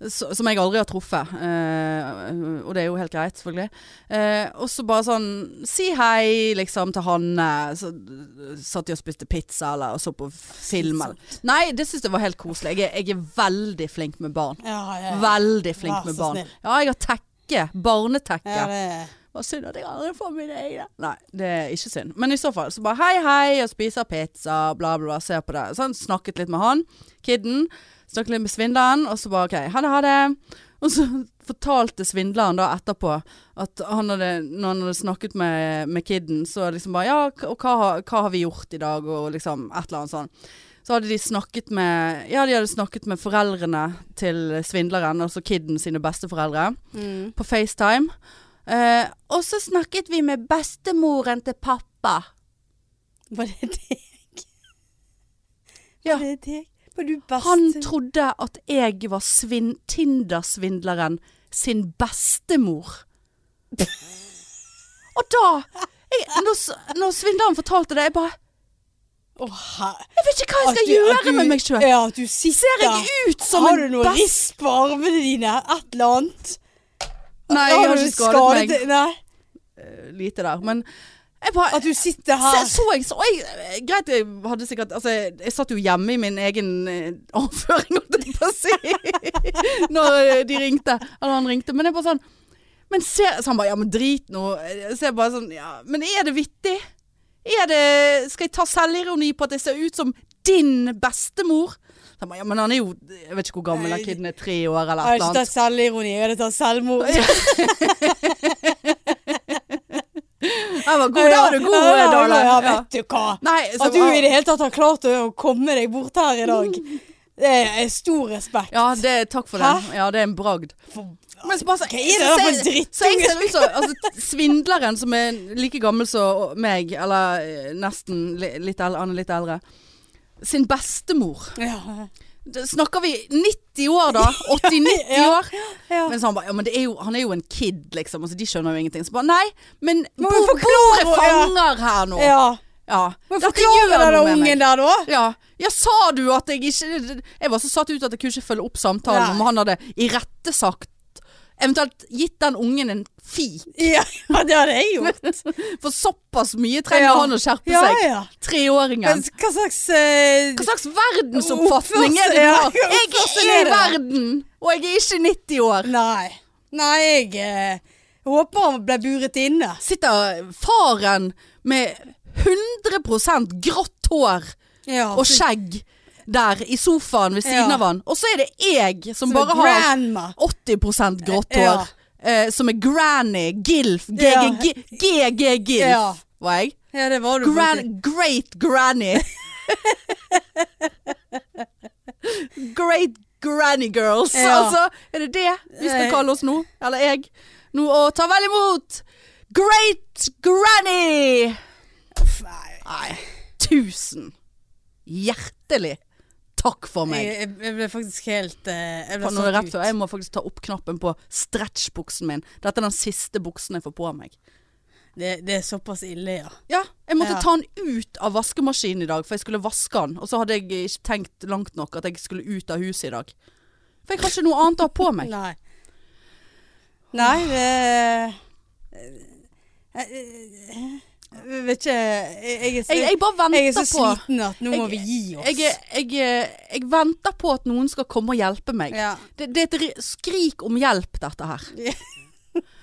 s- Som jeg aldri har truffet. Eh, og det er jo helt greit, selvfølgelig. Eh, og så bare sånn Si hei, liksom, til Hanne. Så eh, satt de og spiste pizza eller og så på film. Eller. Nei, det syns jeg var helt koselig. Jeg er, jeg er veldig flink med barn.
Ja, ja.
Veldig
Vær
flink med
så
barn.
snill.
Ja, jeg har tekke. Barnetekke.
Ja, det-
Hva synd at jeg aldri får mine egne. Nei, det er ikke synd. Men i så fall, så bare hei, hei, og spiser pizza, bla, bla, bla, ser på det. Så han snakket litt med han, kidden, snakket litt med svindleren, og så bare ok, ha det, ha det. Og så fortalte svindleren da etterpå at han hadde, når han hadde snakket med, med kidden, så liksom bare ja, k- og hva, har- hva har vi gjort i dag, og liksom et eller annet sånn. Så hadde de snakket med, ja, de hadde snakket med foreldrene til svindleren, altså kidden sine besteforeldre
Mm.
på FaceTime. Eh, og så snakket vi med bestemoren til pappa.
Var det deg?
Ja.
Var det deg? Var du best?
Han trodde at jeg var svin Tinder-svindleren sin bestemor. og da jeg, når, s- når svindleren fortalte det, jeg bare
Å, her.
Jeg vet ikke hva jeg
At
skal
du- at
gjøre
du-
med meg sjøl.
Ja, at du sitter
Ser jeg ut som en
Har du noe
best-
riss på armene dine? Et eller annet?
Nei, jeg har ikke skadet meg
deg? Nei.
eh, lite der. Men jeg bare
At du sitter her
Se, så jeg, så jeg, eh, greit, jeg hadde sikkert Altså, jeg, jeg satt jo hjemme i min egen eh, avføring, holdt jeg på å si, når eh, de ringte. Eller han ringte. Men jeg bare sånn Men se Så han bare Ja, men drit nå. Så jeg bare sånn Ja, men er det vittig? Er det Skal jeg ta selvironi på at jeg ser ut som din bestemor? Så han bare Ja, men han er jo Jeg vet ikke hvor gammel den kiden er. Tre år eller
Jeg
et
har ikke
eller
tatt selvironi, jeg hadde tatt selvmord.
annet. Jeg var god, da var du god,
Ja, ja, ja,
Dale.
Ja,
Ja.
vet du hva.
Nei, så,
At du i det hele tatt har klart å å komme deg bort her i dag, det er stor respekt.
Ja, det, takk for det.
Hæ?
Ja, det er en bragd.
For-
Men så bare så,
Hva er det da for en
så-
drittunge?
Så jeg ser ut som altså, svindleren som er like gammel som meg, eller eh, nesten li- litt eldre, han er litt eldre, sin bestemor.
Ja.
Da Snakker vi 90 år da? 80-90
Ja.
år?
ja.
Men så han bare, ja, men det er jo, han er jo en kid, liksom. Altså, de skjønner jo ingenting. Så bare, nei, men
Må
hvor
vi
hvor
forklare
er
hvor- ja.
fanger her nå?
ja.
Ja.
Men
Dette
forklar
gjør
den
noe med meg.
ungen der, da.
Ja. ja, sa du at jeg ikke Jeg var så satt ut at jeg kunne ikke følge opp samtalen
Nei.
om han hadde irettesagt Eventuelt gitt den ungen en fi.
Ja, ja, det hadde jeg gjort.
For såpass mye trenger
Ja.
han å skjerpe
Ja,
seg.
ja. Men
Treåringen.
hva slags eh,
Hva slags verdensoppfatning er det du
Oppførsel, ja.
har? Jeg er i
Oppførsel altså, er det.
verden, og jeg er ikke 90 år.
Nei. Nei, jeg eh, håper han ble buret inne.
Sitter faren med 100 grått hår
Ja,
og skjegg der i sofaen ved siden
Ja.
av han, og så er det jeg som
som
bare
en
har
grandma.
80 grått hår.
Ja.
Eh, som er granny, gilf, GG,
Ja.
GG gilf,
Ja.
var jeg.
Ja, det var du faktisk.
Gran, great granny. great granny girls.
Ja.
Altså, er det det vi skal
Eh.
kalle oss nå? Eller jeg? Nå, og ta vel imot great granny!
Nei,
Nei, tusen hjertelig takk for meg.
Jeg, jeg, jeg ble faktisk helt eh, Jeg ble
Faen, nå er det
satt
rett
ut.
før. Jeg må faktisk ta opp knappen på stretchbuksen min. Dette er den siste buksen jeg får på meg.
Det, det er såpass ille, ja.
Ja, jeg måtte
Ja.
ta den ut av vaskemaskinen i dag, for jeg skulle vaske den. Og så hadde jeg ikke tenkt langt nok at jeg skulle ut av huset i dag. For jeg har ikke noe annet å ha på meg.
Nei. Nei, det jeg, jeg- jeg vet ikke Jeg, jeg, er, så-
Jeg, jeg bare venter
jeg er så
på
sliten at nå må
Jeg-
vi gi oss.
jeg, jeg, jeg venter på at noen skal komme og hjelpe meg.
ja.
Det, det er et ri- skrik om hjelp, dette her.
Ja.